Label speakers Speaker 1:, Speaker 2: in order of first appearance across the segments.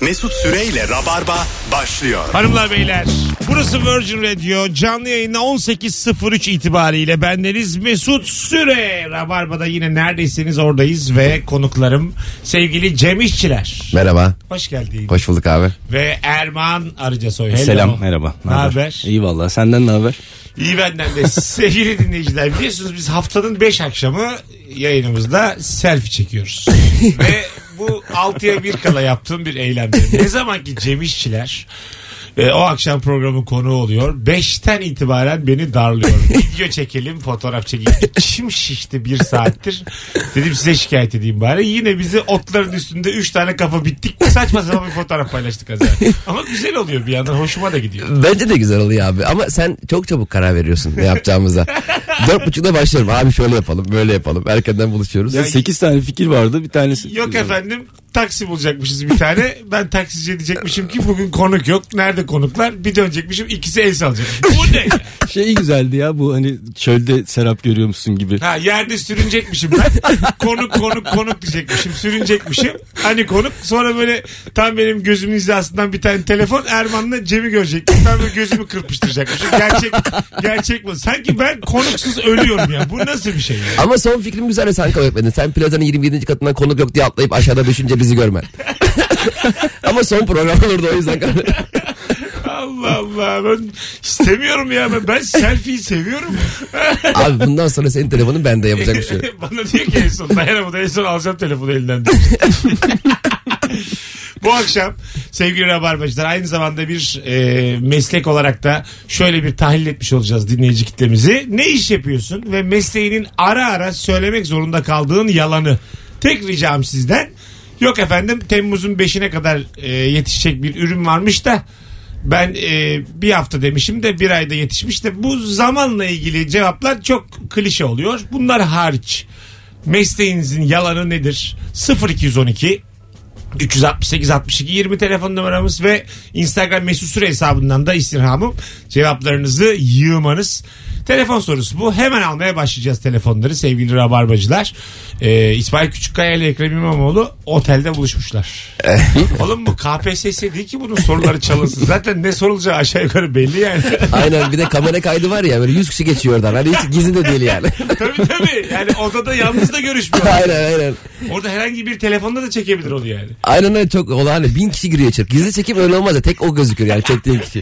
Speaker 1: Mesut Süreyle Rabarba başlıyor.
Speaker 2: Hanımlar beyler burası Virgin Radio canlı yayına 18.03 itibariyle bendeniz Mesut Süre. Rabarba'da yine neredeyseniz oradayız ve konuklarım sevgili Cem İşçiler.
Speaker 3: Merhaba.
Speaker 2: Hoş geldin.
Speaker 3: Hoş bulduk abi.
Speaker 2: Ve Erman Arıcasoy. Hello.
Speaker 4: Selam merhaba.
Speaker 2: Ne haber?
Speaker 4: İyi valla senden ne haber?
Speaker 2: İyi benden de. sevgili dinleyiciler biliyorsunuz biz haftanın 5 akşamı yayınımızda selfie çekiyoruz. Ve bu 6'ya 1 kala yaptığım bir eylemdir. Ne zaman ki Cem İşçiler e, o akşam programın konuğu oluyor. 5'ten itibaren beni darlıyor. Video çekelim, fotoğraf çekelim. İçim şişti bir saattir. Dedim size şikayet edeyim bari. Yine bizi otların üstünde 3 tane kafa bittik. Saçma sapan bir fotoğraf paylaştık az evvel. Ama güzel oluyor bir yandan. Hoşuma da gidiyor.
Speaker 3: Bence de güzel oluyor abi ama sen çok çabuk karar veriyorsun ne yapacağımıza. Dört buçukta başlıyorum abi şöyle yapalım böyle yapalım erkenden buluşuyoruz.
Speaker 4: Ya 8 tane fikir vardı bir tanesi.
Speaker 2: Yok efendim taksi bulacakmışız bir tane. Ben taksici diyecekmişim ki bugün konuk yok. Nerede konuklar? Bir dönecekmişim ikisi el salacak. Bu ne?
Speaker 4: Şey güzeldi ya bu hani çölde serap görüyor musun gibi.
Speaker 2: Ha yerde sürünecekmişim ben. Konuk konuk konuk diyecekmişim. Sürünecekmişim. Hani konuk. Sonra böyle tam benim gözümün hizasından bir tane telefon Erman'la Cem'i görecektim. Ben böyle gözümü kırpıştıracakmışım. Gerçek, gerçek bu. Sanki ben konuksuz ölüyorum ya. Bu nasıl bir şey ya?
Speaker 3: Ama son fikrim güzel de sen kabul etmedin. Sen plazanın 27. katından konuk yok diye atlayıp aşağıda düşünce bizi görmen. ama son program olurdu o yüzden. karar-
Speaker 2: Allah Allah. Ben istemiyorum ya. Ben, ben selfie'yi seviyorum.
Speaker 3: abi bundan sonra senin telefonun bende yapacak bir şey. yok.
Speaker 2: Bana diyor ki en son dayanamadı en son alacağım telefonu elinden diyor. Bu akşam sevgili Rabarbacılar aynı zamanda bir e, meslek olarak da şöyle bir tahlil etmiş olacağız dinleyici kitlemizi. Ne iş yapıyorsun ve mesleğinin ara ara söylemek zorunda kaldığın yalanı. Tek ricam sizden yok efendim Temmuz'un 5'ine kadar e, yetişecek bir ürün varmış da ben e, bir hafta demişim de bir ayda yetişmiş de bu zamanla ilgili cevaplar çok klişe oluyor. Bunlar hariç mesleğinizin yalanı nedir? 0212 368 62 20 telefon numaramız ve Instagram mesut süre hesabından da istirhamım cevaplarınızı yığmanız. Telefon sorusu bu. Hemen almaya başlayacağız telefonları sevgili rabarbacılar. Ee, İsmail Küçükkaya ile Ekrem İmamoğlu otelde buluşmuşlar. Oğlum bu KPSS değil ki bunun soruları çalınsın. Zaten ne sorulacağı aşağı yukarı belli yani.
Speaker 3: Aynen bir de kamera kaydı var ya böyle 100 kişi geçiyor oradan. Hani hiç gizli de değil yani.
Speaker 2: tabii tabii. Yani odada yalnız da görüşmüyor.
Speaker 3: aynen aynen.
Speaker 2: Orada herhangi bir telefonda da çekebilir onu yani.
Speaker 3: Aynen öyle çok olağan. Bin kişi giriyor içeri. Gizli çekim öyle olmaz ya. Tek o gözükür yani çektiğin kişi.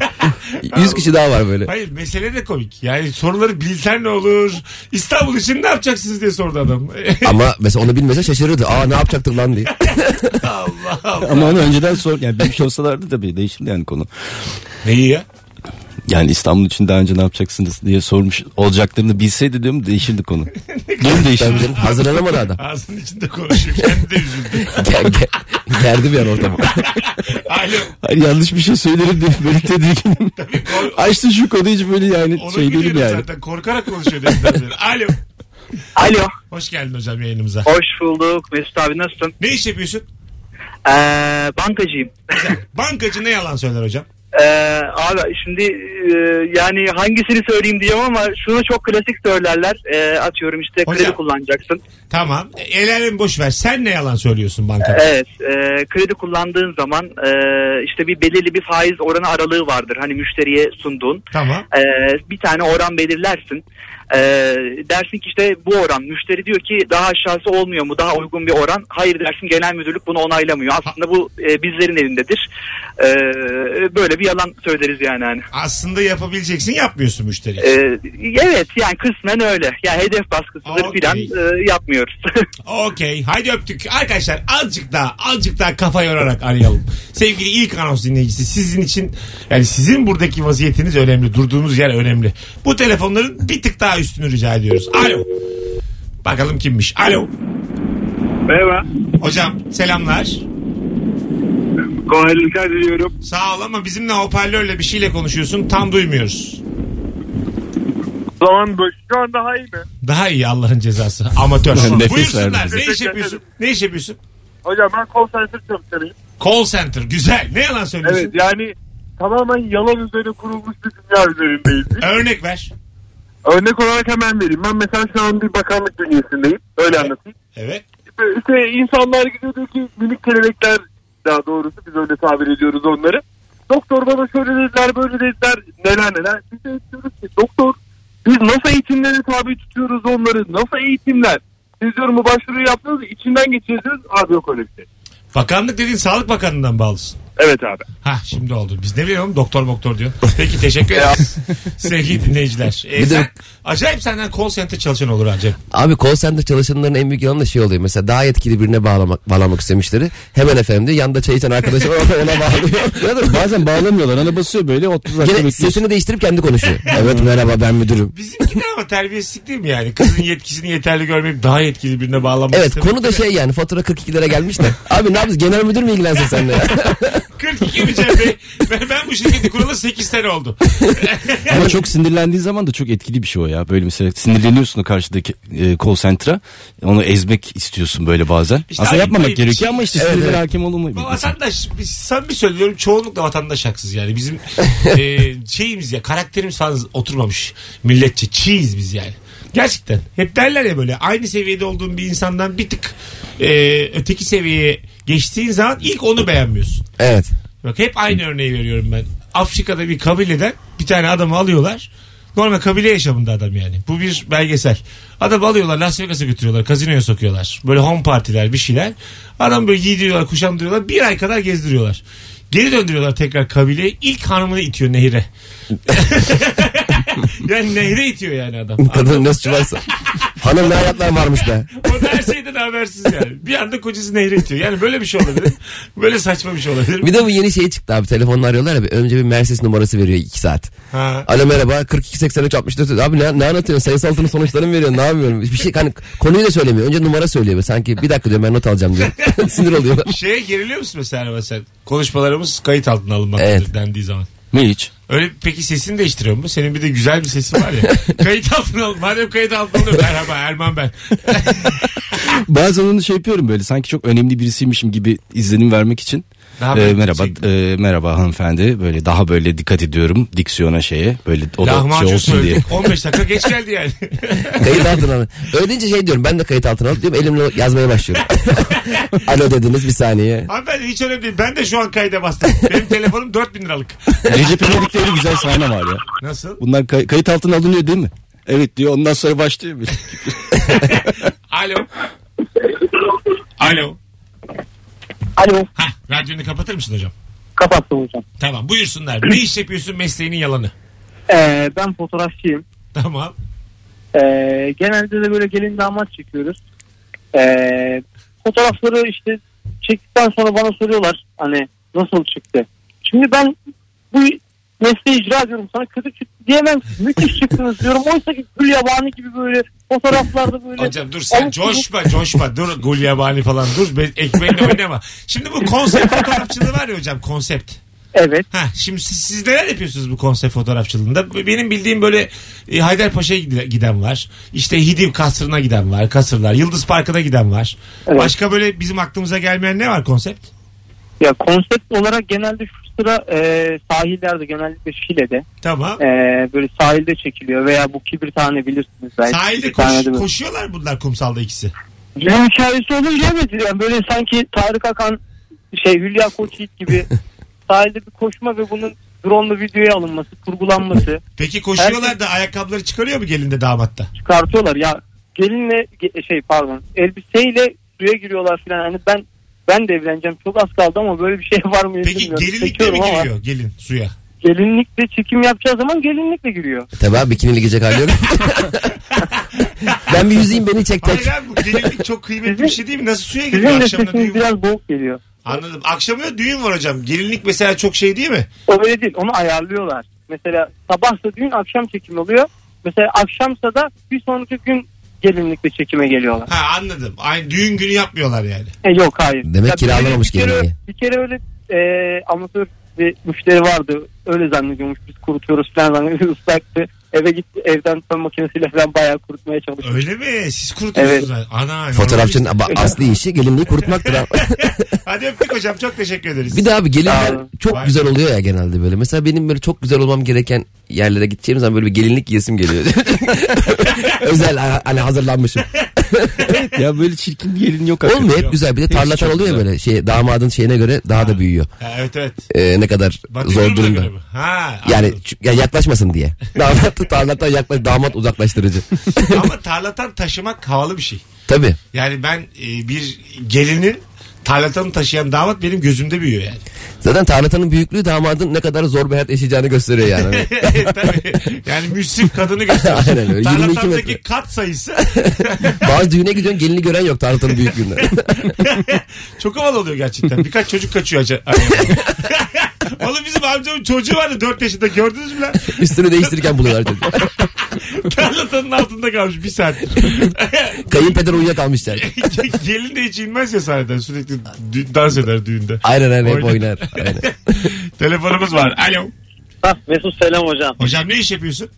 Speaker 3: 100 kişi daha var böyle.
Speaker 2: Hayır mesele de komik. Yani soruları bilsen ne olur? İstanbul için ne yapacaksınız diye sordu adam.
Speaker 3: Ama mesela onu bilmese şaşırırdı. Aa ne yapacaktık lan diye.
Speaker 2: Allah Allah.
Speaker 4: Ama onu önceden sor. Yani bilmiş olsalardı tabii değişirdi yani konu.
Speaker 2: Neyi ya?
Speaker 4: Yani İstanbul için daha önce ne yapacaksınız diye sormuş olacaklarını bilseydi diyorum değişirdi konu. Durum
Speaker 3: Tabii
Speaker 4: değişirdi.
Speaker 3: canım, hazırlanamadı adam.
Speaker 2: Ağzının içinde konuşuyor. Kendi de üzüldü.
Speaker 3: Ger, ger, gerdi bir an ortamı.
Speaker 2: Alo.
Speaker 4: Hayır yanlış bir şey söylerim diye böyle tedirginim. Açtı şu konuyu hiç böyle yani
Speaker 2: Onu
Speaker 4: şey değilim
Speaker 2: biliyorum
Speaker 4: yani.
Speaker 2: zaten. Korkarak konuşuyor dediler. beri. Alo.
Speaker 5: Alo.
Speaker 2: Hoş geldin hocam yayınımıza.
Speaker 5: Hoş bulduk. Mesut abi nasılsın?
Speaker 2: Ne iş yapıyorsun?
Speaker 5: Ee, bankacıyım.
Speaker 2: Bankacı ne yalan söyler hocam?
Speaker 5: Ee, abi şimdi e, yani hangisini söyleyeyim diyeceğim ama şunu çok klasik söylerler. Ee, atıyorum işte kredi
Speaker 2: Hocam.
Speaker 5: kullanacaksın.
Speaker 2: Tamam. E, El alem boş ver. Sen ne yalan söylüyorsun bankada?
Speaker 5: Evet. e, kredi kullandığın zaman e, işte bir belirli bir faiz oranı aralığı vardır. Hani müşteriye sunduğun.
Speaker 2: Tamam.
Speaker 5: Ee, bir tane oran belirlersin. Ee, dersin ki işte bu oran. Müşteri diyor ki daha aşağısı olmuyor mu? Daha uygun bir oran. Hayır dersin genel müdürlük bunu onaylamıyor. Aslında bu e, bizlerin elindedir. Ee, böyle bir yalan söyleriz yani. hani.
Speaker 2: Aslında yapabileceksin yapmıyorsun müşteriye.
Speaker 5: Ee, evet yani kısmen öyle. Yani hedef baskısıdır
Speaker 2: Okey.
Speaker 5: filan e, yapmıyoruz.
Speaker 2: Okey. Haydi öptük. Arkadaşlar azıcık daha azıcık daha kafa yorarak arayalım. Sevgili ilk anons dinleyicisi sizin için yani sizin buradaki vaziyetiniz önemli. Durduğunuz yer önemli. Bu telefonların bir tık daha üstünü rica ediyoruz. Alo. Bakalım kimmiş. Alo.
Speaker 6: Merhaba.
Speaker 2: Hocam selamlar.
Speaker 6: Kolaylıklar diliyorum.
Speaker 2: Sağ ol ama bizimle hoparlörle bir şeyle konuşuyorsun. Tam duymuyoruz.
Speaker 6: Zaman böyle. Şu an daha iyi mi?
Speaker 2: Daha iyi Allah'ın cezası. Amatör.
Speaker 4: Nefes
Speaker 2: Buyursunlar.
Speaker 4: verdim.
Speaker 2: Ne iş yapıyorsun? Ne iş yapıyorsun?
Speaker 6: Hocam ben call center çalışanıyım.
Speaker 2: Call center. Güzel. Ne yalan söylüyorsun?
Speaker 6: Evet yani tamamen yalan üzerine kurulmuş bir dünya üzerindeyiz.
Speaker 2: Örnek ver.
Speaker 6: Örnek olarak hemen vereyim. Ben mesela şu an bir bakanlık bünyesindeyim. Öyle anlatayım.
Speaker 2: Evet.
Speaker 6: İşte insanlar gidiyor diyor ki minik kelebekler daha doğrusu biz öyle tabir ediyoruz onları. Doktor bana şöyle dediler böyle dediler neler neler. Biz de diyoruz ki doktor biz nasıl eğitimlere tabi tutuyoruz onları nasıl eğitimler. Siz diyorum bu başvuruyu yaptınız içinden geçiyorsunuz abi yok öyle bir şey.
Speaker 2: Bakanlık dediğin Sağlık Bakanlığından bağlısın.
Speaker 6: Evet abi.
Speaker 2: Ha şimdi oldu. Biz ne biliyorum doktor doktor diyor. Peki teşekkür ederiz. Sevgili dinleyiciler. Ee,
Speaker 3: Bir de-
Speaker 2: sen- acayip senden call center çalışan olur acayip.
Speaker 3: Abi call center çalışanların en büyük yanı da şey oluyor. Mesela daha yetkili birine bağlamak, bağlamak istemişleri. Hemen efendim diyor. Yanında çay içen arkadaşı var o da ona bağlıyor.
Speaker 7: Birader bazen bağlamıyorlar. Ana basıyor böyle 30 dakika
Speaker 3: Gene
Speaker 7: bekliyorsun.
Speaker 3: sesini değiştirip kendi konuşuyor. evet merhaba ben müdürüm.
Speaker 2: Bizimki de ama terbiyesizlik değil mi yani? Kızın yetkisini yeterli görmeyip daha yetkili birine bağlamak
Speaker 3: Evet
Speaker 2: istemek
Speaker 3: konu da
Speaker 2: değil mi?
Speaker 3: şey yani fatura 42 lira gelmiş de. Abi ne yapıyorsun genel müdür mü ilgilensin seninle ya?
Speaker 2: 42 mi Cem Bey? Ben, ben bu şirketi kuralı 8 sene oldu.
Speaker 4: Ama çok sinirlendiğin zaman da çok etkili bir şey o ya. Böyle mesela sinirleniyorsun o karşıdaki e, call center'a. Onu ezmek istiyorsun böyle bazen.
Speaker 2: İşte
Speaker 4: Aslında
Speaker 2: ayıp,
Speaker 4: yapmamak
Speaker 2: ayıp bir şey.
Speaker 4: gerekiyor ama işte sinirlere hakim olamayıp.
Speaker 2: Bu vatandaş, biz- samimi söylüyorum çoğunlukla vatandaş haksız yani. Bizim e, şeyimiz ya karakterimiz falan oturmamış milletçe. Çiğiz biz yani. Gerçekten. Hep derler ya böyle aynı seviyede olduğun bir insandan bir tık e, öteki seviyeye geçtiğin zaman ilk onu beğenmiyorsun.
Speaker 3: Evet.
Speaker 2: Bak hep aynı örneği veriyorum ben. Afrika'da bir kabileden bir tane adamı alıyorlar. Normal kabile yaşamında adam yani. Bu bir belgesel. Adamı alıyorlar Las Vegas'a götürüyorlar. Kazinoya sokuyorlar. Böyle home partiler bir şeyler. Adam böyle giydiriyorlar kuşandırıyorlar. Bir ay kadar gezdiriyorlar. Geri döndürüyorlar tekrar kabileye. İlk hanımını itiyor nehire. yani nehire itiyor yani adam.
Speaker 3: Kadın nasıl çıvarsa. Hanım ne hayatlar varmış be.
Speaker 2: O da her şeyden habersiz yani. Bir anda kocası nehire itiyor. Yani böyle bir şey olabilir. Böyle saçma bir şey olabilir.
Speaker 3: Bir de bu yeni şey çıktı abi. Telefonla arıyorlar abi. Önce bir Mercedes numarası veriyor 2 saat.
Speaker 2: Ha.
Speaker 3: Alo merhaba 42 83 64. Abi ne, ne anlatıyorsun? Sayısal altının sonuçlarını mı veriyorsun? Ne yapıyorum? Bir şey hani konuyu da söylemiyor. Önce numara söylüyor. böyle. Sanki bir dakika diyor ben not alacağım diyor. Sinir oluyor.
Speaker 2: Şeye geriliyor musun mesela hani mesela? Konuşmalarımız kayıt altına alınmaktadır
Speaker 3: Evet.
Speaker 2: dendiği zaman.
Speaker 4: Ne hiç?
Speaker 2: Öyle peki sesini değiştiriyor mu? Senin bir de güzel bir sesin var ya. kayıt altına al. Madem kayıt altına alıyor. Merhaba Erman ben.
Speaker 4: Bazen onu şey yapıyorum böyle sanki çok önemli birisiymişim gibi izlenim vermek için.
Speaker 2: Daha
Speaker 4: Ee,
Speaker 2: böyle
Speaker 4: merhaba
Speaker 2: şey-
Speaker 4: e, merhaba hanımefendi böyle daha böyle dikkat ediyorum diksiyona şeye böyle o da
Speaker 2: Lahmacun
Speaker 4: şey olsun diye.
Speaker 2: söyledik. 15 dakika geç geldi yani.
Speaker 3: Kayıt altına alın. Öyle deyince şey diyorum ben de kayıt altına alıp diyorum elimle yazmaya başlıyorum. Alo dediniz bir saniye.
Speaker 2: Abi ben hiç önemli değil. Ben de şu an kayda bastım. Benim telefonum 4000 liralık.
Speaker 4: Recep İvedik'te öyle güzel sahne var ya.
Speaker 2: Nasıl?
Speaker 4: Bunlar kay- kayıt altına alınıyor değil mi? Evet diyor ondan sonra başlıyor. bir-
Speaker 2: Alo. Alo.
Speaker 6: Alo
Speaker 2: Ha, radyonu kapatır mısın hocam?
Speaker 6: kapattım hocam.
Speaker 2: Tamam buyursunlar. Ne iş yapıyorsun mesleğinin yalanı?
Speaker 6: Ee, ben fotoğrafçıyım.
Speaker 2: Tamam.
Speaker 6: Ee, genelde de böyle gelin damat çekiyoruz. Ee, fotoğrafları işte çektikten sonra bana soruyorlar hani nasıl çıktı. Şimdi ben bu mesleği icra ediyorum sana kötü çıktı diyemem. Müthiş çıktınız diyorum. Oysa ki gül yabani gibi böyle fotoğraflarda böyle.
Speaker 2: Hocam dur sen coşma coşma dur gulyabani falan dur Be- ekmeğinle oynama. Şimdi bu konsept fotoğrafçılığı var ya hocam konsept.
Speaker 6: Evet.
Speaker 2: Ha şimdi siz, siz neler yapıyorsunuz bu konsept fotoğrafçılığında? Benim bildiğim böyle e, Haydarpaşa'ya gide- giden var. İşte Hidiv Kasrı'na giden var. Kasırlar. Yıldız Parkı'na giden var.
Speaker 6: Evet.
Speaker 2: Başka böyle bizim aklımıza gelmeyen ne var konsept?
Speaker 6: Ya konsept olarak genelde şu sıra e, sahillerde genellikle Şile'de
Speaker 2: Tamam.
Speaker 6: e, böyle sahilde çekiliyor veya bu kibir tane bilirsiniz belki.
Speaker 2: Sahilde
Speaker 6: Kibir
Speaker 2: koş-
Speaker 6: tane de böyle-
Speaker 2: koşuyorlar bunlar kumsalda ikisi.
Speaker 6: Cem hikayesi olunca evet yani böyle sanki Tarık Akan şey Hülya Koçyiğit gibi sahilde bir koşma ve bunun drone'la videoya alınması, kurgulanması
Speaker 2: Peki koşuyorlar
Speaker 6: Herkes-
Speaker 2: da ayakkabıları çıkarıyor mu gelinde damatta?
Speaker 6: çıkartıyorlar ya gelinle ge- şey pardon elbiseyle suya giriyorlar filan hani ben ben de evleneceğim çok az kaldı ama böyle bir şey var mı
Speaker 2: Peki
Speaker 6: bilmiyorum.
Speaker 2: gelinlikle mi
Speaker 6: Çekiyorum ama
Speaker 2: giriyor gelin suya?
Speaker 6: Gelinlikle çekim yapacağı zaman gelinlikle giriyor.
Speaker 3: Tabii abi bikiniyle gidecek hali yok. ben bir yüzeyim beni çek tek.
Speaker 2: Hayır abi bu gelinlik çok kıymetli bir şey değil mi? Nasıl suya giriyor
Speaker 6: Sizin de
Speaker 2: akşamda
Speaker 6: sesiniz
Speaker 2: düğün
Speaker 6: biraz boğuk geliyor.
Speaker 2: Anladım. Akşamına düğün var hocam. Gelinlik mesela çok şey değil mi?
Speaker 6: O öyle değil. Onu ayarlıyorlar. Mesela sabahsa düğün akşam çekim oluyor. Mesela akşamsa da bir sonraki gün gelinlikle çekime geliyorlar.
Speaker 2: Ha anladım. Aynı düğün günü yapmıyorlar yani.
Speaker 6: E, yok hayır.
Speaker 3: Demek kiralamamış
Speaker 6: bir kere-
Speaker 3: gelinliği.
Speaker 6: Bir kere öyle e, amatör bir müşteri vardı. Öyle zannediyormuş biz kurutuyoruz falan zannediyoruz. Islaktı. eve gitti evden fön makinesiyle falan bayağı kurutmaya çalıştım.
Speaker 2: Öyle mi? Siz kurutuyorsunuz. ha. Ana.
Speaker 3: Fotoğrafçının ba- asli işi gelinliği kurutmaktır ha.
Speaker 2: Hadi öptük hocam. Çok teşekkür ederiz.
Speaker 3: Bir de abi gelinler
Speaker 6: Aa,
Speaker 3: çok
Speaker 2: vay.
Speaker 3: güzel oluyor ya genelde böyle. Mesela benim böyle çok güzel olmam gereken yerlere gideceğim zaman böyle bir gelinlik giyesim geliyor. Özel ha- hani hazırlanmışım.
Speaker 7: ya böyle çirkin gelin yok
Speaker 3: Olmuyor hep güzel. Bir de tarlatan
Speaker 7: çok
Speaker 3: oluyor ya
Speaker 7: güzel.
Speaker 3: böyle. Şey, damadın şeyine göre daha da büyüyor.
Speaker 2: Ha, evet evet.
Speaker 3: Ee, ne kadar
Speaker 2: Batı
Speaker 3: zor durumda.
Speaker 2: göre mi? Ha.
Speaker 3: Yani
Speaker 2: anladım.
Speaker 3: ç- ya yaklaşmasın diye. Damat tarlatan yaklaş damat uzaklaştırıcı.
Speaker 2: Ama tarlatan taşımak havalı bir şey.
Speaker 3: Tabii.
Speaker 2: Yani ben e, bir gelinin tarlatanı taşıyan damat benim gözümde büyüyor yani.
Speaker 3: Zaten tarlatanın büyüklüğü damadın ne kadar zor bir hayat yaşayacağını gösteriyor yani.
Speaker 2: Tabii. Yani müsrif kadını gösteriyor.
Speaker 3: Aynen öyle. 22
Speaker 2: Tarlatandaki
Speaker 3: metre.
Speaker 2: kat sayısı
Speaker 3: Hani Bazı düğüne gidiyorsun gelini gören yok tarlatanın büyüklüğünde.
Speaker 2: çok havalı oluyor gerçekten. Birkaç çocuk kaçıyor. aca- arkadan. Oğlum bizim amcamın çocuğu vardı 4 yaşında gördünüz mü lan?
Speaker 3: Üstünü değiştirirken buluyorlar çocuğu.
Speaker 2: Tarlatanın altında kalmış bir saattir.
Speaker 3: Kayınpeder uyuyakalmışlar.
Speaker 2: Gelin de hiç inmez ya sahneden sürekli dü- dans eder düğünde.
Speaker 3: Aynen aynen hep
Speaker 2: Oynar.
Speaker 3: oynar. Aynen.
Speaker 2: Telefonumuz var. Alo.
Speaker 6: Hah, Mesut selam hocam.
Speaker 2: Hocam ne iş yapıyorsun?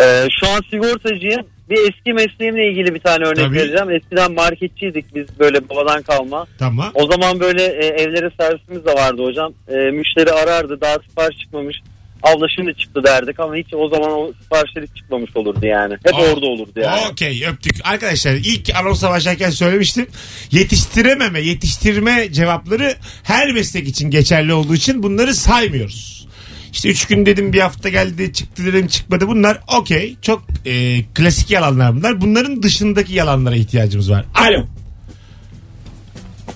Speaker 6: Ee, şu an sigortacıyım. Bir eski mesleğimle ilgili bir tane örnek
Speaker 2: Tabii.
Speaker 6: vereceğim. Eskiden marketçiydik biz böyle babadan kalma.
Speaker 2: Tamam.
Speaker 6: O zaman böyle e, evlere servisimiz de vardı hocam. E, müşteri arardı daha sipariş çıkmamış. Abla şimdi çıktı derdik ama hiç o zaman o siparişler hiç çıkmamış olurdu yani. Hep
Speaker 2: Aa.
Speaker 6: orada olurdu yani.
Speaker 2: Okey öptük. Arkadaşlar ilk anonsa başlarken söylemiştim. Yetiştirememe, yetiştirme cevapları her meslek için geçerli olduğu için bunları saymıyoruz. İşte üç gün dedim bir hafta geldi çıktı dedim çıkmadı bunlar okey çok e, klasik yalanlar bunlar bunların dışındaki yalanlara ihtiyacımız var. Alo.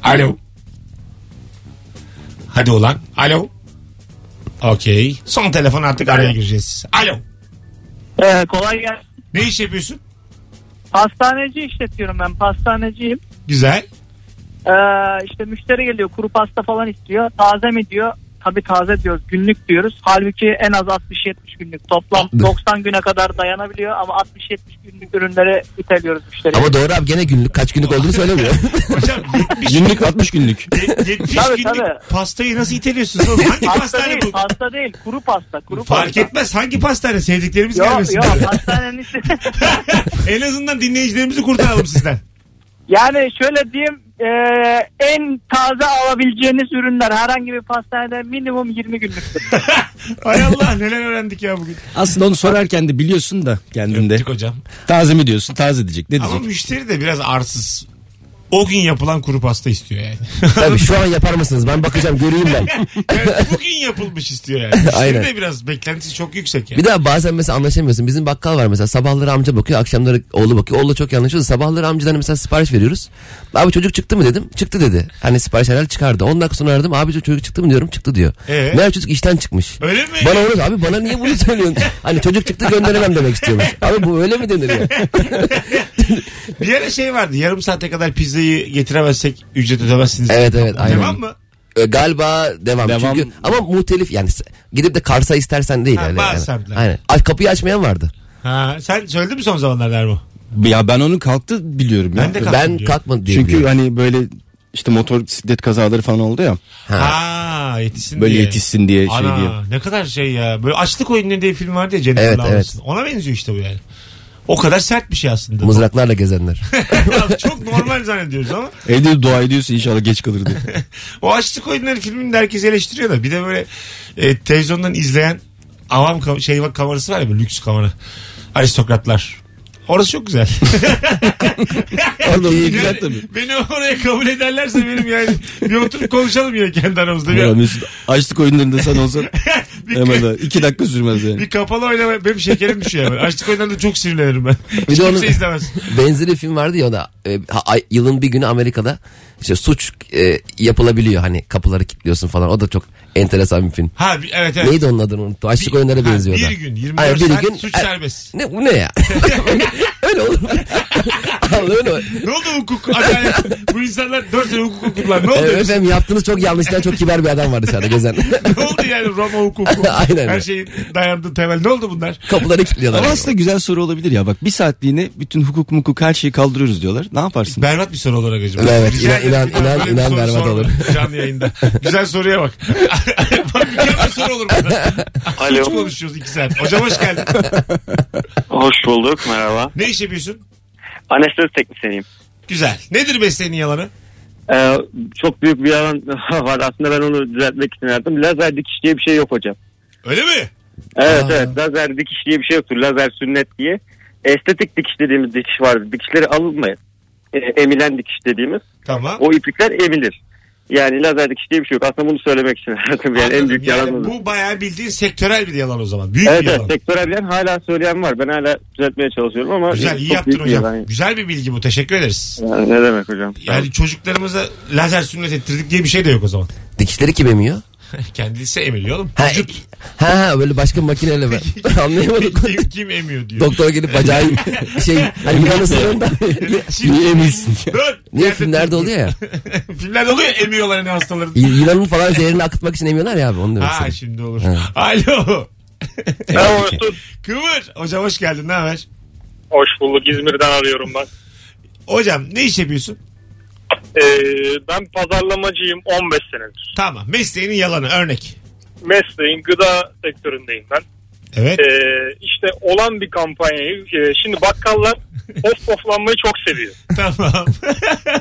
Speaker 2: Alo. Hadi ulan. Alo. Okey. Son telefon artık araya gireceğiz. Alo.
Speaker 8: Ee,
Speaker 6: kolay gelsin.
Speaker 2: Ne iş yapıyorsun?
Speaker 8: Pastaneci işletiyorum ben. Pastaneciyim.
Speaker 2: Güzel.
Speaker 8: Ee, işte müşteri geliyor kuru pasta falan istiyor. Taze mi diyor. Tabii taze diyoruz. Günlük diyoruz. Halbuki en az 60-70 günlük. Toplam 90 güne kadar dayanabiliyor ama 60-70 günlük ürünleri iteliyoruz müşteriye.
Speaker 3: Ama doğru abi gene günlük kaç günlük olduğunu söylemiyor.
Speaker 2: Hocam 70
Speaker 7: Günlük 60 günlük.
Speaker 2: 70
Speaker 8: Tabii,
Speaker 2: E, günlük
Speaker 8: tabii.
Speaker 2: pastayı nasıl iteliyorsunuz oğlum? Hangi
Speaker 8: Pasta
Speaker 2: pastane
Speaker 8: değil,
Speaker 2: bu?
Speaker 8: pasta değil. Kuru pasta, kuru
Speaker 2: Fark
Speaker 8: pasta.
Speaker 2: etmez. Hangi pastane? Sevdiklerimiz
Speaker 8: Yok
Speaker 2: gelmesin.
Speaker 8: yok pastanenin içi-
Speaker 2: en azından dinleyicilerimizi kurtaralım sizden.
Speaker 8: Yani şöyle diyeyim e, en taze alabileceğiniz ürünler herhangi bir pastanede minimum 20 günlüktür.
Speaker 2: Ay Allah neler öğrendik ya bugün.
Speaker 7: Aslında onu sorarken de biliyorsun da kendinde.
Speaker 2: Öptük hocam.
Speaker 7: Taze mi diyorsun? Taze diyecek. Ne
Speaker 2: Ama
Speaker 7: diyecek?
Speaker 2: müşteri de biraz arsız. O gün yapılan kuru pasta istiyor yani.
Speaker 3: Tabii şu an yapar mısınız? Ben bakacağım göreyim ben.
Speaker 2: yani bugün yapılmış istiyor yani. Müşteri
Speaker 3: Aynen.
Speaker 2: de biraz beklentisi çok yüksek yani.
Speaker 3: Bir daha bazen mesela anlaşamıyorsun. Bizim bakkal var mesela sabahları amca bakıyor akşamları oğlu bakıyor. Oğlu çok yanlış oluyor. Sabahları amcadan hani mesela sipariş veriyoruz. Abi çocuk çıktı mı dedim. Çıktı dedi. Hani sipariş herhalde çıkardı. 10 dakika sonra aradım. Abi çocuk çıktı mı diyorum. Çıktı diyor.
Speaker 2: Ee?
Speaker 3: Meğer çocuk işten çıkmış.
Speaker 2: Öyle mi?
Speaker 3: Bana onu abi bana niye bunu söylüyorsun? hani çocuk çıktı gönderemem demek istiyormuş. Abi bu öyle mi denir ya?
Speaker 2: Bir yere şey vardı. Yarım saate kadar pizzayı getiremezsek ücret ödemezsiniz.
Speaker 3: Evet evet aynen.
Speaker 2: Devam mı?
Speaker 3: E, galiba devam.
Speaker 7: Devam.
Speaker 3: Çünkü ama muhtelif yani s- gidip de Kars'a istersen değil.
Speaker 2: Ha,
Speaker 3: öyle
Speaker 2: bazı
Speaker 3: yani.
Speaker 2: semtler.
Speaker 3: Aynen. Ay, kapıyı açmayan vardı.
Speaker 2: Ha, sen söyledin mi son zamanlarda Ermo?
Speaker 7: Ya ben onun kalktı biliyorum ya.
Speaker 2: Ben de kalktı
Speaker 3: ben
Speaker 2: diyor.
Speaker 3: kalkmadı diye.
Speaker 7: Çünkü
Speaker 3: biliyorum.
Speaker 7: hani böyle işte motor siklet kazaları falan oldu ya.
Speaker 2: Ha yetişsin
Speaker 7: Böyle
Speaker 2: diye.
Speaker 7: yetişsin diye şey
Speaker 2: Ana,
Speaker 7: diye.
Speaker 2: ne kadar şey ya. Böyle açlık oyunu diye film vardı ya Jennifer
Speaker 3: Evet,
Speaker 2: Lawrence'ın. Ona benziyor işte bu yani. O kadar sert bir şey aslında.
Speaker 3: Mızraklarla gezenler.
Speaker 2: Çok normal zannediyoruz ama
Speaker 7: Evde dua ediyorsun inşallah geç kalır diye.
Speaker 2: o açlık oyunları filmini de herkes eleştiriyor da bir de böyle e, televizyondan izleyen avam kam- şey bak kamerası var ya böyle lüks kamera. Aristokratlar. Orası çok güzel.
Speaker 7: Orada
Speaker 2: Yani
Speaker 7: güzel tabii.
Speaker 2: Beni oraya kabul ederlerse benim yani bir oturup konuşalım ya kendi aramızda. Bir,
Speaker 7: Ya Mesut açlık oyunlarında sen olsan
Speaker 2: bir-
Speaker 7: hemen daha iki dakika sürmez yani.
Speaker 2: Bir kapalı oynama benim şekerim düşüyor hemen. Açlık oyunlarında çok sinirlenirim ben. Hiç
Speaker 3: de onu-
Speaker 2: kimse izlemez.
Speaker 3: Benzeri film vardı ya o da e, ha- ay- yılın bir günü Amerika'da işte suç e, yapılabiliyor hani kapıları kilitliyorsun falan o da çok enteresan bir film.
Speaker 2: Ha bir- evet evet.
Speaker 3: Neydi onun adını unuttum. Açlık oyunlara
Speaker 2: Ha,
Speaker 3: benziyor da.
Speaker 2: Bir gün 24
Speaker 3: Hayır, bir
Speaker 2: saat
Speaker 3: gün-
Speaker 2: suç
Speaker 3: Ay-
Speaker 2: serbest.
Speaker 3: Ne, bu ne ya? yani oğlum. Anladın mı?
Speaker 2: Ne oldu hukuk? Adalet. Bu insanlar 4 sene hukuk okudular. Ne oldu?
Speaker 3: Evet, efendim yaptığınız çok yanlışlar çok kibar bir adam var dışarıda gezen.
Speaker 2: ne oldu yani Roma hukuku?
Speaker 3: Aynen.
Speaker 2: Her şeyin dayandığı temel. Ne oldu bunlar?
Speaker 3: Kapıları kilitliyorlar.
Speaker 7: Ama aslında güzel soru olabilir ya. Bak bir saatliğine bütün hukuk mukuk her şeyi kaldırıyoruz diyorlar. Ne yaparsın?
Speaker 2: Berbat bir soru olur Agacım.
Speaker 3: Evet,
Speaker 2: Rica
Speaker 3: inan- inan-
Speaker 2: ederim.
Speaker 3: inan-
Speaker 2: Böyle
Speaker 3: inan
Speaker 2: bir soru
Speaker 3: berbat
Speaker 2: sorma.
Speaker 3: olur.
Speaker 2: Canlı yayında. Güzel soruya bak. bak mükemmel soru olur bana. Hiç
Speaker 9: Alo.
Speaker 2: konuşuyoruz iki saat. Hocam hoş geldin.
Speaker 9: Hoş bulduk. Merhaba.
Speaker 2: Ne iş yapıyorsun?
Speaker 9: Anestezi teknisyeniyim.
Speaker 2: Güzel. Nedir beslenin yalanı?
Speaker 9: Ee, çok büyük bir yalan var. Aslında ben onu düzeltmek için aradım. Lazer dikiş diye bir şey yok hocam.
Speaker 2: Öyle mi?
Speaker 9: Evet
Speaker 3: Aa.
Speaker 9: evet. Lazer dikiş diye bir şey yoktur. Lazer sünnet diye. Estetik dikiş dediğimiz dikiş vardır. Dikişleri alınmayan. e, emilen dikiş dediğimiz.
Speaker 2: Tamam.
Speaker 9: O iplikler emilir. Yani lazer dikiş diye bir şey yok. Aslında bunu söylemek için aradım. Yani en
Speaker 2: Anladım.
Speaker 9: büyük
Speaker 2: Yani
Speaker 9: yalan bu.
Speaker 2: bu bayağı bildiğin sektörel bir yalan o zaman. Büyük
Speaker 9: Evet,
Speaker 2: bir
Speaker 9: evet
Speaker 2: yalan.
Speaker 9: sektörel bilen hala söyleyen var. Ben hala düzeltmeye çalışıyorum ama
Speaker 2: Güzel
Speaker 9: çok
Speaker 2: iyi
Speaker 9: büyük
Speaker 2: yaptın
Speaker 9: bir
Speaker 2: hocam.
Speaker 9: yalan.
Speaker 2: Güzel bir bilgi bu. Teşekkür ederiz.
Speaker 9: Yani ne demek hocam?
Speaker 2: Yani çocuklarımıza lazer sünnet ettirdik diye bir şey de yok o zaman.
Speaker 3: Dikişleri kim emiyor?
Speaker 2: Kendisi emiliyor oğlum.
Speaker 3: Ha, e,
Speaker 2: Vücut
Speaker 3: ha, ha, böyle başka makineyle ben. Anlayamadım.
Speaker 2: kim, kim emiyor diyor.
Speaker 3: Doktor gelip bacağı şey hani yanısında
Speaker 2: Şimdi-
Speaker 7: emilsin?
Speaker 2: Dön.
Speaker 3: niye
Speaker 2: Yerde
Speaker 3: filmlerde
Speaker 2: dur.
Speaker 3: oluyor ya
Speaker 2: Filmlerde oluyor ya, emiyorlar hani hastaları.
Speaker 3: y- yılanın falan zehrini akıtmak için emiyorlar ya abi onu demek
Speaker 2: ha
Speaker 3: istedim.
Speaker 2: şimdi olur. Alo.
Speaker 10: Ben Mesut.
Speaker 2: Kıvır. Hocam hoş geldin. Ne haber?
Speaker 10: Hoş bulduk. İzmir'den arıyorum ben.
Speaker 2: Hocam ne iş yapıyorsun?
Speaker 10: Ee, ben pazarlamacıyım 15 senedir.
Speaker 2: Tamam. Mesleğinin yalanı. Örnek.
Speaker 10: Mesleğin gıda sektöründeyim ben.
Speaker 2: Evet.
Speaker 10: Ee, işte olan bir kampanyayı e, şimdi bakkallar of oflanmayı çok seviyor.
Speaker 2: Tamam.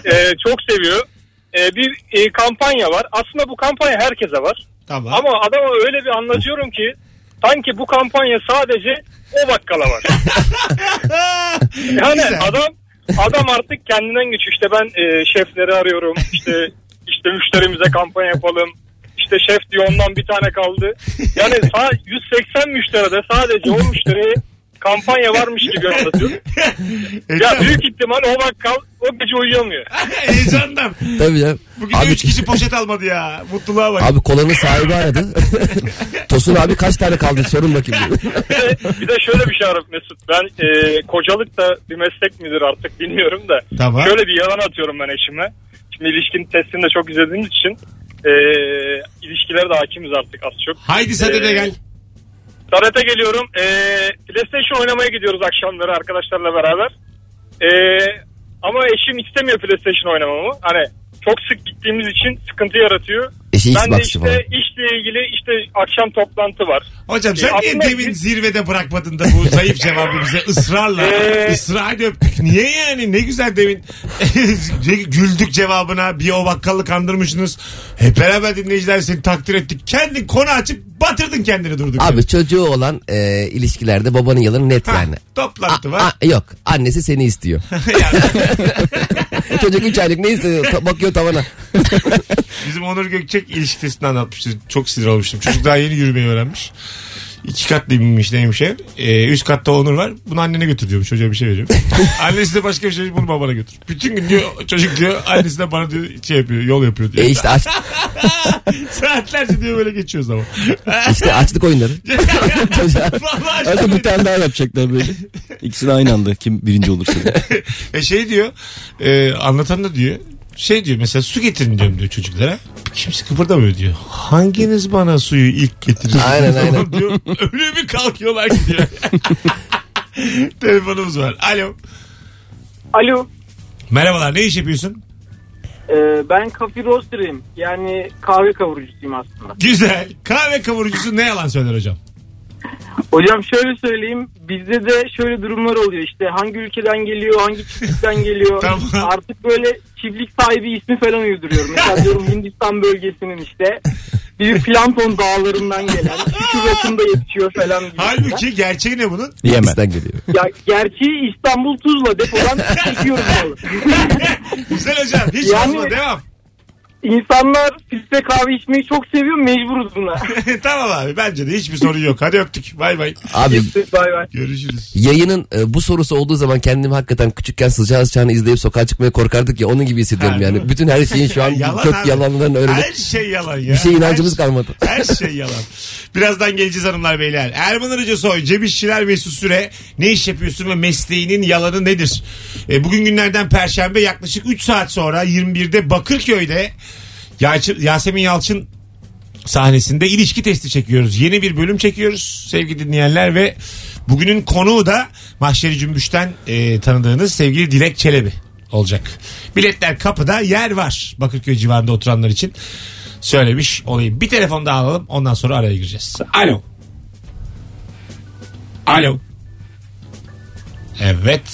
Speaker 10: Ee, çok seviyor. Ee, bir e, kampanya var. Aslında bu kampanya herkese var.
Speaker 2: tamam.
Speaker 10: Ama adama öyle bir anlatıyorum ki sanki bu kampanya sadece o bakkala var. Yani
Speaker 2: Güzel.
Speaker 10: adam adam artık kendinden güç. İşte ben e, şefleri arıyorum. İşte işte müşterimize kampanya yapalım. İşte şef diyor ondan bir tane kaldı. Yani sa- 180 müşteride sadece 10 müşteriye kampanya varmış gibi anlatıyor. Ya
Speaker 2: Ekrem,
Speaker 10: büyük ihtimal o bakkal o gece uyuyamıyor.
Speaker 2: Heyecandan.
Speaker 3: Tabii canım.
Speaker 2: Bugün de
Speaker 3: Abi,
Speaker 2: 3 kişi poşet almadı ya. Mutluluğa bak.
Speaker 3: abi kolanın sahibi aradı. Tosun abi kaç tane kaldı sorun bakayım. diyor.
Speaker 10: Bir de, bir de şöyle bir şey Arif Mesut. Ben e, kocalık da bir meslek midir artık bilmiyorum da.
Speaker 2: Tamam.
Speaker 10: Şöyle bir yalan atıyorum ben eşime. Şimdi ilişkin testini de çok izlediğimiz için e, ilişkilere de hakimiz artık az çok.
Speaker 2: Haydi sen de
Speaker 10: Ee,
Speaker 2: gel.
Speaker 10: Tarete geliyorum. E, PlayStation oynamaya gidiyoruz akşamları arkadaşlarla beraber. E, ama eşim istemiyor PlayStation oynamamı. Hani çok sık gittiğimiz için sıkıntı yaratıyor.
Speaker 3: Eşi
Speaker 10: ben de
Speaker 3: Xbox
Speaker 10: işte
Speaker 3: şey falan.
Speaker 10: işle ilgili işte akşam toplantı var.
Speaker 2: Hocam sen
Speaker 10: e,
Speaker 2: niye
Speaker 10: aklına-
Speaker 2: demin zirvede bırakmadın da bu zayıf cevabı bize ısrarla
Speaker 10: Ee,
Speaker 2: ısrar öptük. Niye yani? Ne güzel demin güldük cevabına. Bir o bakkalı kandırmışsınız. Hep beraber dinleyiciler seni takdir ettik. Kendin konu açıp batırdın kendini durduk. yere.
Speaker 3: Abi çocuğu olan e, ilişkilerde babanın yalanı net
Speaker 2: Ha,
Speaker 3: yani.
Speaker 2: Toplantı
Speaker 3: A-
Speaker 2: var.
Speaker 3: a- yok annesi seni istiyor. Çocuk 3 aylık neyse ta- bakıyor tavana.
Speaker 2: Bizim Onur Gökçek ilişkisini anlatmıştı. Çok sinir olmuştum. Çocuk daha yeni yürümeyi öğrenmiş. İki katlı binmiş neymiş ev. Ee, üst katta Onur var. Bunu annene götür diyormuş. Çocuğa bir şey veriyor. Annesi de başka bir şey bunu babana götür. Bütün gün diyor çocuk diyor annesi de bana diyor şey yapıyor yol yapıyor diyor.
Speaker 3: E işte, aç,
Speaker 2: Saatlerce diyor böyle geçiyoruz ama.
Speaker 3: işte açlık oyunları. Çocuğa.
Speaker 2: Vallahi
Speaker 7: Hatta
Speaker 2: aşkına.
Speaker 7: bir tane daha yapacaklar böyle. İkisini aynı anda kim birinci olursa.
Speaker 2: E şey diyor. E, anlatan da diyor. Şey diyor mesela su getirin diyorum diyor çocuklara. Kimse kıpırdamıyor diyor. Hanginiz bana suyu ilk getirir?
Speaker 3: Aynen, aynen.
Speaker 2: Tamam Diyor. Öyle bir kalkıyorlar ki diyor. Telefonumuz var. Alo.
Speaker 8: Alo.
Speaker 2: Merhabalar ne iş yapıyorsun?
Speaker 8: Ee, ben kafi roaster'ıyım. Yani kahve kavurucusuyum aslında.
Speaker 2: Güzel. Kahve kavurucusu ne yalan söyler hocam?
Speaker 8: Hocam şöyle söyleyeyim. Bizde de şöyle durumlar oluyor. İşte hangi ülkeden geliyor, hangi çiftlikten geliyor.
Speaker 2: Tamam.
Speaker 8: Artık böyle çiftlik sahibi ismi falan uyduruyorum. Mesela diyorum Hindistan bölgesinin işte bir plankton dağlarından gelen küçük rakımda yetişiyor falan. gibi.
Speaker 2: Halbuki gerçeği ne bunun?
Speaker 7: Yemen.
Speaker 3: Bizden geliyor.
Speaker 8: Ya, gerçeği İstanbul Tuzla depodan çekiyorum. oğlum.
Speaker 2: Güzel hocam. Hiç
Speaker 8: Yani-
Speaker 2: fazla devam.
Speaker 11: İnsanlar filtre kahve içmeyi çok seviyor mecburuz buna.
Speaker 2: tamam abi bence de hiçbir sorun yok. Hadi öptük. Bay bay.
Speaker 3: Abi-
Speaker 11: Bay bay.
Speaker 2: Görüşürüz.
Speaker 3: Yayının e, bu sorusu olduğu zaman kendimi hakikaten küçükken sıcağı sıcağını izleyip sokağa çıkmaya korkardık ya onun gibi hissediyorum
Speaker 2: Ha,
Speaker 3: yani. Bütün her şeyin şu an
Speaker 2: Yalan
Speaker 3: kök
Speaker 2: abi.
Speaker 3: yalanlarını
Speaker 2: Her
Speaker 3: öğrenip
Speaker 2: şey yalan ya.
Speaker 3: bir şey inancımız kalmadı.
Speaker 2: Her şey yalan. Birazdan geleceğiz hanımlar beyler. Erman Arıca Soy, Cem İşçiler Mesut Süre. Ne iş yapıyorsun ve mesleğinin yalanı nedir? E, bugün günlerden Perşembe yaklaşık 3 saat sonra 21'de Bakırköy'de Yalçı- Yasemin Yalçın sahnesinde ilişki testi çekiyoruz. Yeni bir bölüm çekiyoruz sevgili dinleyenler ve bugünün konuğu da Mahşeri Cümbüş'ten e, tanıdığınız sevgili Dilek Çelebi olacak. Biletler kapıda yer var Bakırköy civarında oturanlar için söylemiş olayım. Bir telefon daha alalım ondan sonra araya gireceğiz. Alo. Alo. Evet.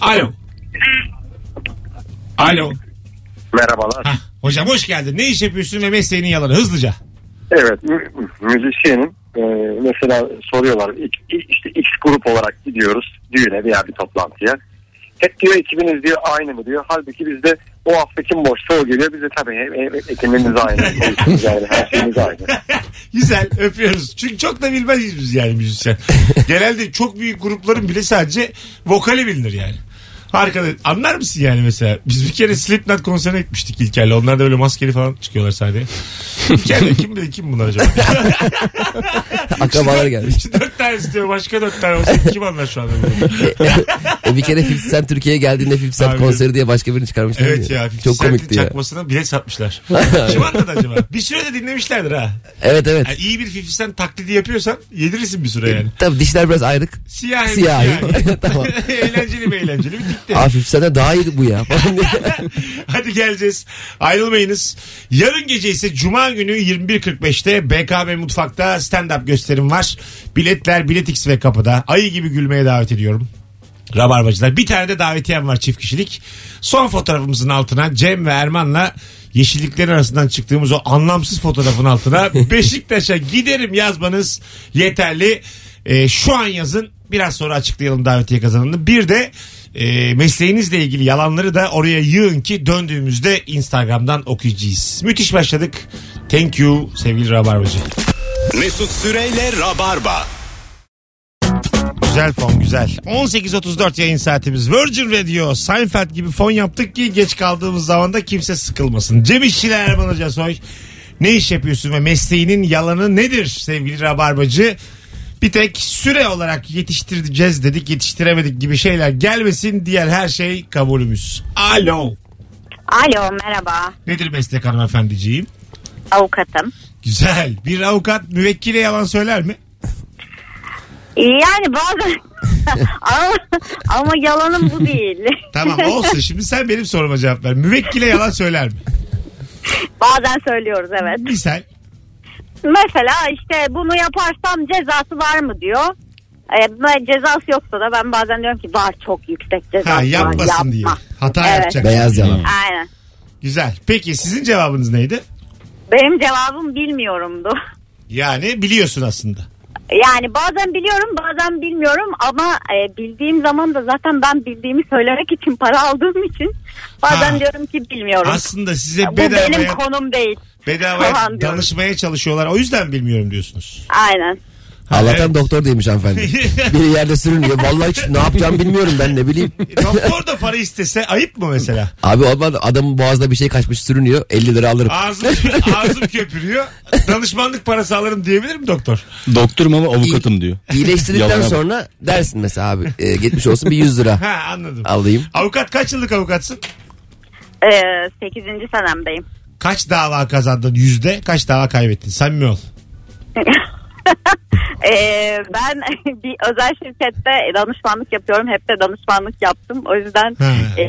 Speaker 2: Alo. Alo.
Speaker 9: Merhabalar.
Speaker 2: Hocam hoş geldin. Ne iş yapıyorsun ve mesleğinin yalanı hızlıca.
Speaker 9: Evet mü- müzisyenim. Ee, mesela soruyorlar "İ- i- işte X grup olarak gidiyoruz düğüne veya bir toplantıya. Hep diyor ekibiniz diyor aynı mı diyor. Halbuki bizde o hafta kim boşsa o geliyor. Bize tabii hep, hep- hep ekibimiz aynı. konuşmamız aynı, Her şeyimiz aynı.
Speaker 2: Güzel öpüyoruz. Çünkü çok da bilmeyiz biz yani müzisyen. Genelde çok büyük grupların bile sadece vokali bilinir yani. Arkada anlar mısın yani mesela? Biz bir kere Slipknot konserine gitmiştik İlker'le. Onlar da böyle maskeli falan çıkıyorlar sahneye. İlker'le kim bilir kim bunlar acaba? şey
Speaker 3: Akrabalar gelmiş.
Speaker 2: İşte dört tane istiyor başka dört tane olsa kim anlar şu anda? bunu?
Speaker 3: E, bir kere 50 Cent Türkiye'ye geldiğinde 50 Cent
Speaker 2: Abi.
Speaker 3: konseri diye başka birini çıkarmışlar.
Speaker 2: Evet ya.
Speaker 3: Çok komikti ya.
Speaker 2: çakmasına bilet satmışlar. kim anladı acaba? Bir süre de dinlemişlerdir ha.
Speaker 3: Evet evet.
Speaker 2: Yani iyi bir 50 Cent taklidi yapıyorsan yedirirsin bir süre yani.
Speaker 3: Tabii dişler biraz ayrık.
Speaker 2: Siyah.
Speaker 3: Siyah. tamam.
Speaker 2: eğlenceli mi eğlenceli mi dikti.
Speaker 3: Aa 50 Cent'e daha iyi bu ya.
Speaker 2: Hadi geleceğiz. Ayrılmayınız. Yarın gece ise Cuma günü 21.45'te BKM Mutfak'ta stand-up gösterim var. Biletler Biletix ve kapıda. Ayı gibi gülmeye davet ediyorum. Rabarbacılar. Bir tane de davetiyem var çift kişilik. Son fotoğrafımızın altına Cem ve Erman'la yeşilliklerin arasından çıktığımız o anlamsız fotoğrafın altına Beşiktaş'a giderim yazmanız yeterli. Ee, şu an yazın. Biraz sonra açıklayalım davetiye kazananını. Bir de e, mesleğinizle ilgili yalanları da oraya yığın ki döndüğümüzde Instagram'dan okuyacağız. Müthiş başladık. Thank you sevgili Rabarbacı.
Speaker 1: Mesut Süreyle Rabarba.
Speaker 2: Güzel fon güzel. 18.34 yayın saatimiz. Virgin Radio, Seinfeld gibi fon yaptık ki geç kaldığımız zaman da kimse sıkılmasın. Cem İşçiler Erman Hoca Soy. Ne iş yapıyorsun ve mesleğinin yalanı nedir sevgili Rabarbacı? Bir tek süre olarak yetiştireceğiz dedik yetiştiremedik gibi şeyler gelmesin. Diğer her şey kabulümüz. Alo.
Speaker 12: Alo merhaba
Speaker 2: Nedir meslek hanımefendiciğim?
Speaker 12: avukatım.
Speaker 2: Güzel. Bir avukat müvekkile yalan söyler mi?
Speaker 12: Yani bazen ama, ama yalanım bu değil.
Speaker 2: Tamam olsun şimdi sen benim soruma cevap ver. Müvekkile yalan söyler mi?
Speaker 12: bazen söylüyoruz evet.
Speaker 2: Misal.
Speaker 12: Mesela işte bunu yaparsam cezası var mı diyor. Ee, ben- cezası yoksa da ben bazen diyorum ki var çok yüksek cezası
Speaker 2: Ha,
Speaker 12: var.
Speaker 2: yapmasın
Speaker 12: yapma.
Speaker 2: diye. Hata
Speaker 12: Evet.
Speaker 2: yapacak.
Speaker 3: Beyaz yalan.
Speaker 12: Aynen.
Speaker 2: Güzel. Peki sizin cevabınız neydi?
Speaker 12: Benim cevabım bilmiyorumdu.
Speaker 2: Yani biliyorsun aslında.
Speaker 12: Yani bazen biliyorum bazen bilmiyorum ama e, bildiğim zaman da zaten ben bildiğimi söylemek için para aldığım için bazen
Speaker 2: Ha.
Speaker 12: diyorum ki bilmiyorum.
Speaker 2: Aslında size
Speaker 12: Bu benim
Speaker 2: bedavaya,
Speaker 12: konum değil.
Speaker 2: bedavaya
Speaker 12: falan diyorum.
Speaker 2: danışmaya çalışıyorlar. O yüzden bilmiyorum diyorsunuz.
Speaker 12: Aynen.
Speaker 3: Allah'tan doktor değilmiş hanımefendi. Biri yerde sürünüyor. Vallahi hiç ne yapacağım bilmiyorum ben ne bileyim.
Speaker 2: E, Doktor da para istese ayıp mı mesela?
Speaker 3: Abi olmadı adamın boğazda bir şey kaçmış sürünüyor 50 lira alırım.
Speaker 2: Ağzım, ağzım köpürüyor. Danışmanlık parası alırım diyebilir mi doktor?
Speaker 4: Doktorum ama avukatım diyor. Yalan
Speaker 3: İyileştirdikten
Speaker 4: abi.
Speaker 3: sonra dersin mesela abi e, gitmiş olsun bir 100 lira
Speaker 2: Ha anladım.
Speaker 3: alayım.
Speaker 2: Avukat kaç yıllık avukatsın?
Speaker 12: Ee, 8. senemdeyim.
Speaker 2: Kaç dava kazandın yüzde? Kaç dava kaybettin? Samimi ol.
Speaker 12: Ee, ben bir özel şirkette danışmanlık yapıyorum. Hep de danışmanlık yaptım. O yüzden
Speaker 2: Ha.
Speaker 12: e,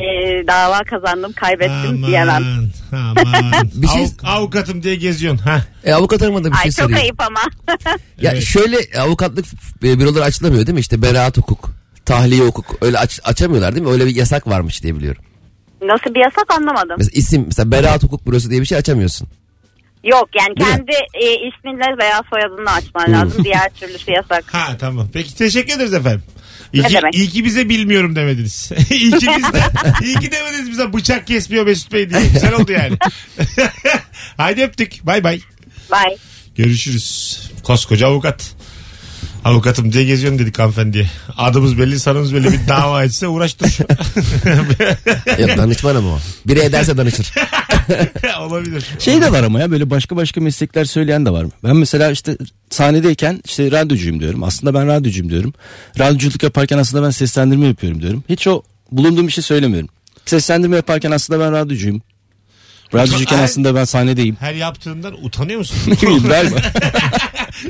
Speaker 12: dava kazandım, kaybettim diyemem.
Speaker 2: Aman, aman.
Speaker 3: Bir şey-
Speaker 2: Avuk- avukatım diye geziyorsun. Ha.
Speaker 3: E, avukat hanıma da bir
Speaker 12: Ay
Speaker 3: şey
Speaker 12: çok
Speaker 3: sorayım.
Speaker 12: ayıp ama.
Speaker 3: Ya
Speaker 2: Evet.
Speaker 3: şöyle avukatlık e, büroları açılamıyor değil mi? İşte beraat hukuk, tahliye hukuk öyle aç, açamıyorlar değil mi? Öyle bir yasak varmış diye biliyorum.
Speaker 12: Nasıl bir yasak anlamadım.
Speaker 3: Mesela isim mesela beraat hukuk bürosu diye bir şey açamıyorsun.
Speaker 12: Yok yani
Speaker 2: Değil mi?
Speaker 12: kendi e, isminle veya soyadını açman lazım. Diğer türlüsü yasak.
Speaker 2: Ha tamam. Peki teşekkür ederiz efendim. İyi
Speaker 12: Ne
Speaker 2: ki,
Speaker 12: demek?
Speaker 2: iyi ki bize bilmiyorum demediniz. iyi ki biz de, iyi ki demediniz bize bıçak kesmiyor Mesut Bey diye. Güzel oldu yani. Haydi öptük. Bay bay.
Speaker 12: Bye.
Speaker 2: Görüşürüz. Koskoca avukat. Avukatım diye geziyorum dedik hanımefendiye. Adımız belli, sanımız belli. Bir dava etse uğraştır.
Speaker 3: Yok danışman ama o. Biri ederse danışır.
Speaker 2: Olabilir.
Speaker 7: Şey de var ama ya böyle başka başka meslekler söyleyen de var. Ben mesela işte sahnedeyken işte radyocuyum diyorum. Aslında ben radyocuyum diyorum. Radyoculuk yaparken aslında ben seslendirme yapıyorum diyorum. Hiç o bulunduğum işi söylemiyorum. Seslendirme yaparken aslında ben radyocuyum. Radyocuyken
Speaker 2: Ay.
Speaker 7: aslında ben sahnedeyim.
Speaker 2: Her yaptığından utanıyor musun?
Speaker 7: Ne bileyim, galiba.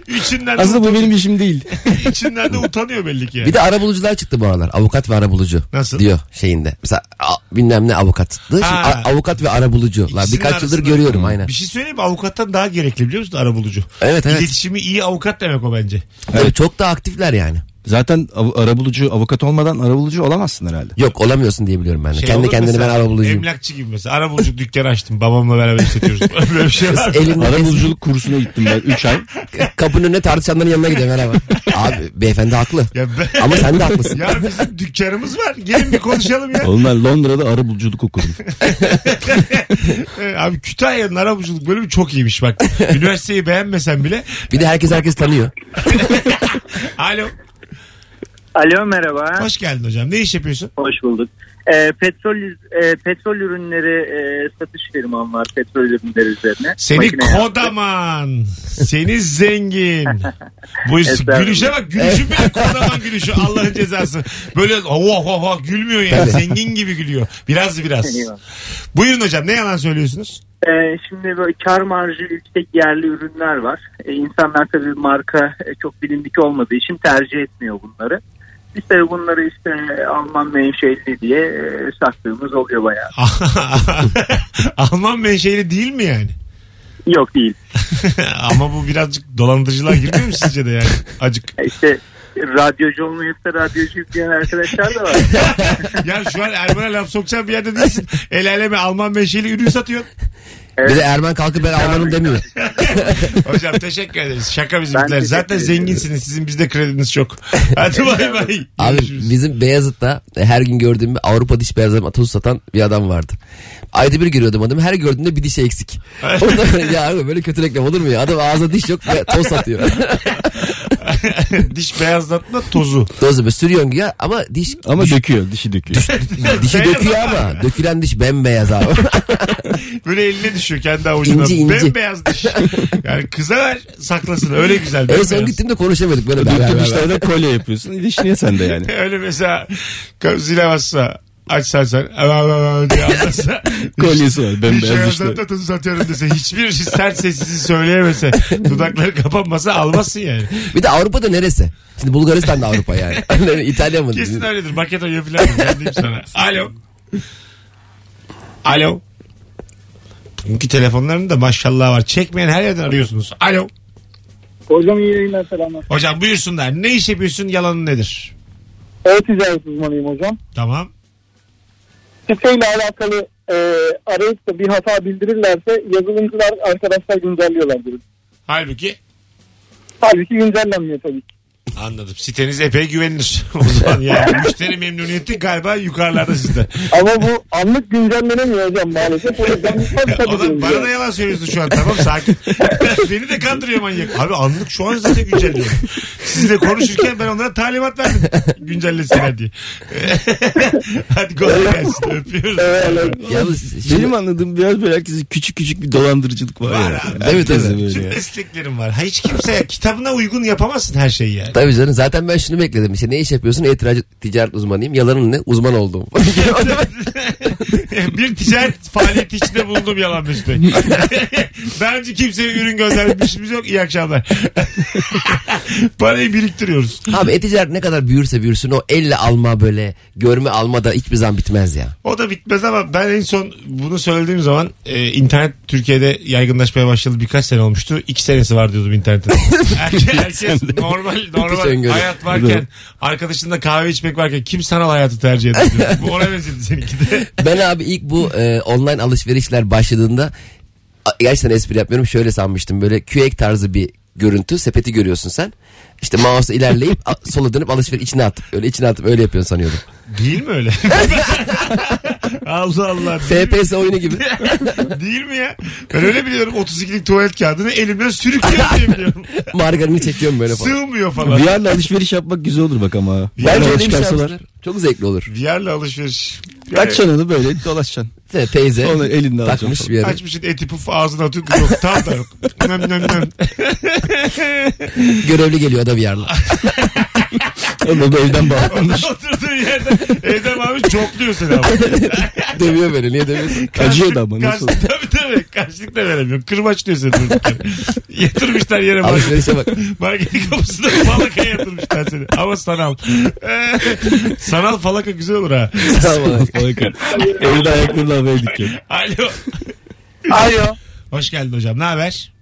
Speaker 2: Üçünden de,
Speaker 7: aslında bu benim işim değil.
Speaker 2: içinden de utanıyor belli ki. Yani.
Speaker 3: Bir de arabulucular çıktı bu aralar. Avukat ve arabulucu.
Speaker 2: Nasıl?
Speaker 3: Diyor şeyinde. Mesela a- bilmem ne avukattı. Şimdi
Speaker 2: Ha.
Speaker 3: a- avukat ve arabulucu. La,
Speaker 2: İkisinin
Speaker 3: birkaç yıldır
Speaker 2: arasında-
Speaker 3: görüyorum aynen.
Speaker 2: Bir şey söyleyeyim mi? Avukattan daha gerekli biliyor musun arabulucu?
Speaker 3: Evet evet.
Speaker 2: İletişimi iyi avukat demek o bence. Şey
Speaker 3: Tabii çok da aktifler yani.
Speaker 7: Zaten av- arabulucu avukat olmadan arabulucu olamazsın herhalde.
Speaker 3: Yok olamıyorsun diye biliyorum ben de.
Speaker 2: Şey
Speaker 3: Kendi
Speaker 2: olur
Speaker 3: kendini
Speaker 2: mesela,
Speaker 3: ben arabulucuyum.
Speaker 2: Emlakçı gibi mesela. Arabulucu dükkanı açtım. Babamla beraber işletiyoruz. Böyle bir şey var. mı?
Speaker 3: Elinde
Speaker 7: Arabuluculuk kursuna gittim ben 3 ay.
Speaker 3: kapının önüne tartışanların yanına gidiyor merhaba. Abi beyefendi haklı.
Speaker 2: Ya ben-
Speaker 3: Ama sen de haklısın.
Speaker 2: Ya bizim dükkanımız var. Gelin bir konuşalım ya.
Speaker 7: Onlar Londra'da arabuluculuk okudum.
Speaker 2: Ee, Abi Kütahya'nın arabuluculuk bölümü çok iyiymiş bak. Üniversiteyi beğenmesen bile.
Speaker 3: Bir de herkes herkes tanıyor.
Speaker 2: Alo.
Speaker 11: Alo merhaba.
Speaker 2: Hoş geldin hocam. Ne iş yapıyorsun?
Speaker 11: Hoş bulduk. Ee, petrol e, petrol ürünleri e, satış firmam var petrol ürünleri üzerine.
Speaker 2: Seni
Speaker 11: Makine
Speaker 2: kodaman. Seni zengin. Bu iş-
Speaker 11: Estağfurullah.
Speaker 2: gülüşe bak. Gülüşü bile kodaman gülüşü. Allah'ın cezası. Böyle oh oh oh gülmüyor yani. Zengin gibi gülüyor. Biraz biraz.
Speaker 11: Eyvallah.
Speaker 2: Buyurun hocam ne yalan söylüyorsunuz?
Speaker 11: Ee, şimdi böyle kar marjı yüksek yerli ürünler var. Ee, insanlar tabii marka e, çok bilindik olmadığı için tercih etmiyor bunları. Biz de bunları işte e, Alman menşeli diye e, sattığımız oluyor bayağı.
Speaker 2: Alman menşeli değil mi yani?
Speaker 11: Yok değil.
Speaker 2: Ama bu birazcık dolandırıcılığa girmiyor mu sizce de yani? Acık.
Speaker 11: E, İşte radyocu olmayıp da radyocu diyen arkadaşlar da var.
Speaker 2: Ya şu an Erman'a laf sokacağım bir yerde değilsin. El aleme Alman menşeli ürün satıyorsun.
Speaker 3: Bir de Erman kalkıp ben Almanım demiyor.
Speaker 2: Hocam teşekkür ederiz. Şaka bizimkiler.
Speaker 11: teşekkür
Speaker 2: Zaten
Speaker 11: ederim.
Speaker 2: zenginsiniz. Sizin bizde krediniz çok. Hadi bay bay.
Speaker 3: Abi
Speaker 2: Görüşürüz.
Speaker 3: bizim Beyazıt'ta e, her gün gördüğüm bir Avrupa diş beyazlama tozu satan bir adam vardı. Ayda bir görüyordum adamı. Her gördüğümde bir dişi eksik. Ondan sonra, ya abi böyle kötü reklam olur mu ya? Adam ağzında diş yok ve toz satıyor.
Speaker 2: Diş beyazlatma tozu.
Speaker 3: Tozu böyle sürüyorsun ya ama diş
Speaker 7: Ama döküyor dişi döküyor.
Speaker 3: dişi
Speaker 2: Beyaz
Speaker 3: döküyor
Speaker 2: ama.
Speaker 3: ama dökülen diş bembeyaz abi.
Speaker 2: Böyle eline düşüyor kendi avucuna.
Speaker 3: İnci, inci.
Speaker 2: Bembeyaz diş. Yani kıza ver saklasın. Öyle güzel.
Speaker 3: en son
Speaker 2: bembeyaz.
Speaker 3: gittiğimde konuşamadık böyle. Ben,
Speaker 7: Döktüğün dişlerden kolye yapıyorsun. Diş niye sende yani?
Speaker 2: Öyle mesela zile bassa açsan sen "Aa, aa, aa" diye anlatsa
Speaker 7: Kolyesi var
Speaker 2: hiç
Speaker 7: bembeyaz dişler.
Speaker 2: ayazlatma tozu satıyorum dese hiçbir şey sert sessizi söyleyemese dudakları kapanmasa almazsın yani.
Speaker 3: Bir de Avrupa'da neresi? Şimdi Bulgaristan da Avrupa yani. İtalya mı?
Speaker 2: Kesin öyledir. Makedonya falan. Ben şey diyeyim sana. Alo. Alo. Bugünkü telefonların da maşallah var. Çekmeyen her yerden arıyorsunuz. Alo.
Speaker 6: Hocam iyi yayınlar selamlar.
Speaker 2: Hocam buyursunlar. Ne iş yapıyorsun? Yalanın nedir?
Speaker 6: E-ticaret uzmanıyım hocam.
Speaker 2: Tamam.
Speaker 6: Siteyle alakalı e, arayıp da bir hata bildirirlerse yazılımcılar arkadaşlar güncelliyorlar diyor.
Speaker 2: Halbuki
Speaker 6: Halbuki güncellenmiyor tabii ki.
Speaker 2: anladım. Siteniz epey güvenilir. o zaman yani müşteri memnuniyeti galiba yukarılarda sizde.
Speaker 6: Ama bu anlık güncellenemiyor hocam maalesef. O yüzden tabii tabii
Speaker 2: Oğlum bana da
Speaker 6: diyorum.
Speaker 2: yalan söylüyorsun şu an tamam sakin. Beni de kandırıyor manyak. Abi anlık şu an zaten güncelliyorum. Sizle konuşurken ben onlara talimat verdim. Güncellesinler diye. Hadi kolay gelsin öpüyoruz.
Speaker 3: Yalnız şimdi-
Speaker 7: Benim anladığım biraz böyle herkesin küçük küçük bir dolandırıcılık var,
Speaker 2: Var
Speaker 7: ya.
Speaker 2: abi.
Speaker 3: Tabii, tabii.
Speaker 7: Herkesin böyle
Speaker 2: Tüm
Speaker 7: ya.
Speaker 2: mesleklerim var. Ha, hiç kimse kitabına uygun yapamazsın her şeyi yani.
Speaker 3: Tabii canım zaten ben şunu bekledim. İşte ne iş yapıyorsun? E-ticaret ticaret uzmanıyım. Yalanın ne? Uzman oldum.
Speaker 2: bir ticaret faaliyeti içinde bulundum yalan Mesut Bey. Daha önce kimseye ürün göndermişimiz yok. İyi akşamlar. Parayı biriktiriyoruz.
Speaker 3: Abi e-ticaret ne kadar büyürse büyürsün o elle alma böyle görme alma da hiçbir zaman bitmez ya.
Speaker 2: O da bitmez ama ben en son bunu söylediğim zaman e, internet Türkiye'de yaygınlaşmaya başladı birkaç sene olmuştu. İki senesi var diyordum internetin. herkes, herkes normal
Speaker 3: Müthiş
Speaker 2: normal
Speaker 3: öngörü.
Speaker 2: hayat varken arkadaşınla kahve içmek varken kim sanal hayatı tercih ediyor? Bu ona benzedi seninki de.
Speaker 3: Ben abi ilk bu e, online alışverişler başladığında a- gerçekten espri yapmıyorum şöyle sanmıştım böyle küek tarzı bir görüntü sepeti görüyorsun sen. İşte mouse'u ilerleyip a- sola dönüp alışveriş içine atıp öyle içine atıp öyle yapıyorsun sanıyordum.
Speaker 2: Değil mi öyle? Allah Allah.
Speaker 3: FPS oyunu gibi.
Speaker 2: Değil mi ya? Ben öyle biliyorum 32'lik tuvalet kağıdını elimden sürüklüyor diye biliyorum.
Speaker 3: Margarini çekiyorum böyle falan.
Speaker 2: Sığmıyor falan.
Speaker 7: VR'la alışveriş yapmak güzel olur bak ama.
Speaker 3: Bence
Speaker 7: VR'la
Speaker 3: öyle bir şey
Speaker 7: çıkarsalar.
Speaker 3: yapmışlar. Çok zevkli olur.
Speaker 2: VR'la alışveriş. Yani-
Speaker 7: Açacaksın onu böyle dolaşacaksın.
Speaker 3: Te- Teyze
Speaker 7: Onu elinde alacaksın
Speaker 3: takmış
Speaker 7: falan.
Speaker 3: bir yere.
Speaker 2: Açmışsın eti puf ağzına atıyor. Yok tam da yok. Nem nem nem.
Speaker 3: Görevli geliyor o da bir yerle.
Speaker 7: Onu da evden bağlamış.
Speaker 2: Oturduğun yerde Edem abi çokluyor seni ama.
Speaker 3: Dövüyor beni niye dövüyorsun?
Speaker 7: Acıyor da ama nasıl?
Speaker 2: Karşılık tabii tabii. Karşılık da veremiyor. Kırbaçlıyor seni durduk yere. Yatırmışlar yere.
Speaker 3: Alışverişe bak.
Speaker 2: Marketin kapısında falakaya yatırmışlar seni. Ama sanal. Ee, sanal falaka güzel olur ha.
Speaker 3: Tamam.
Speaker 7: Evde ayaklarını havaya dikiyor.
Speaker 2: Alo.
Speaker 13: Alo.
Speaker 2: Hoş geldin hocam. Ne haber?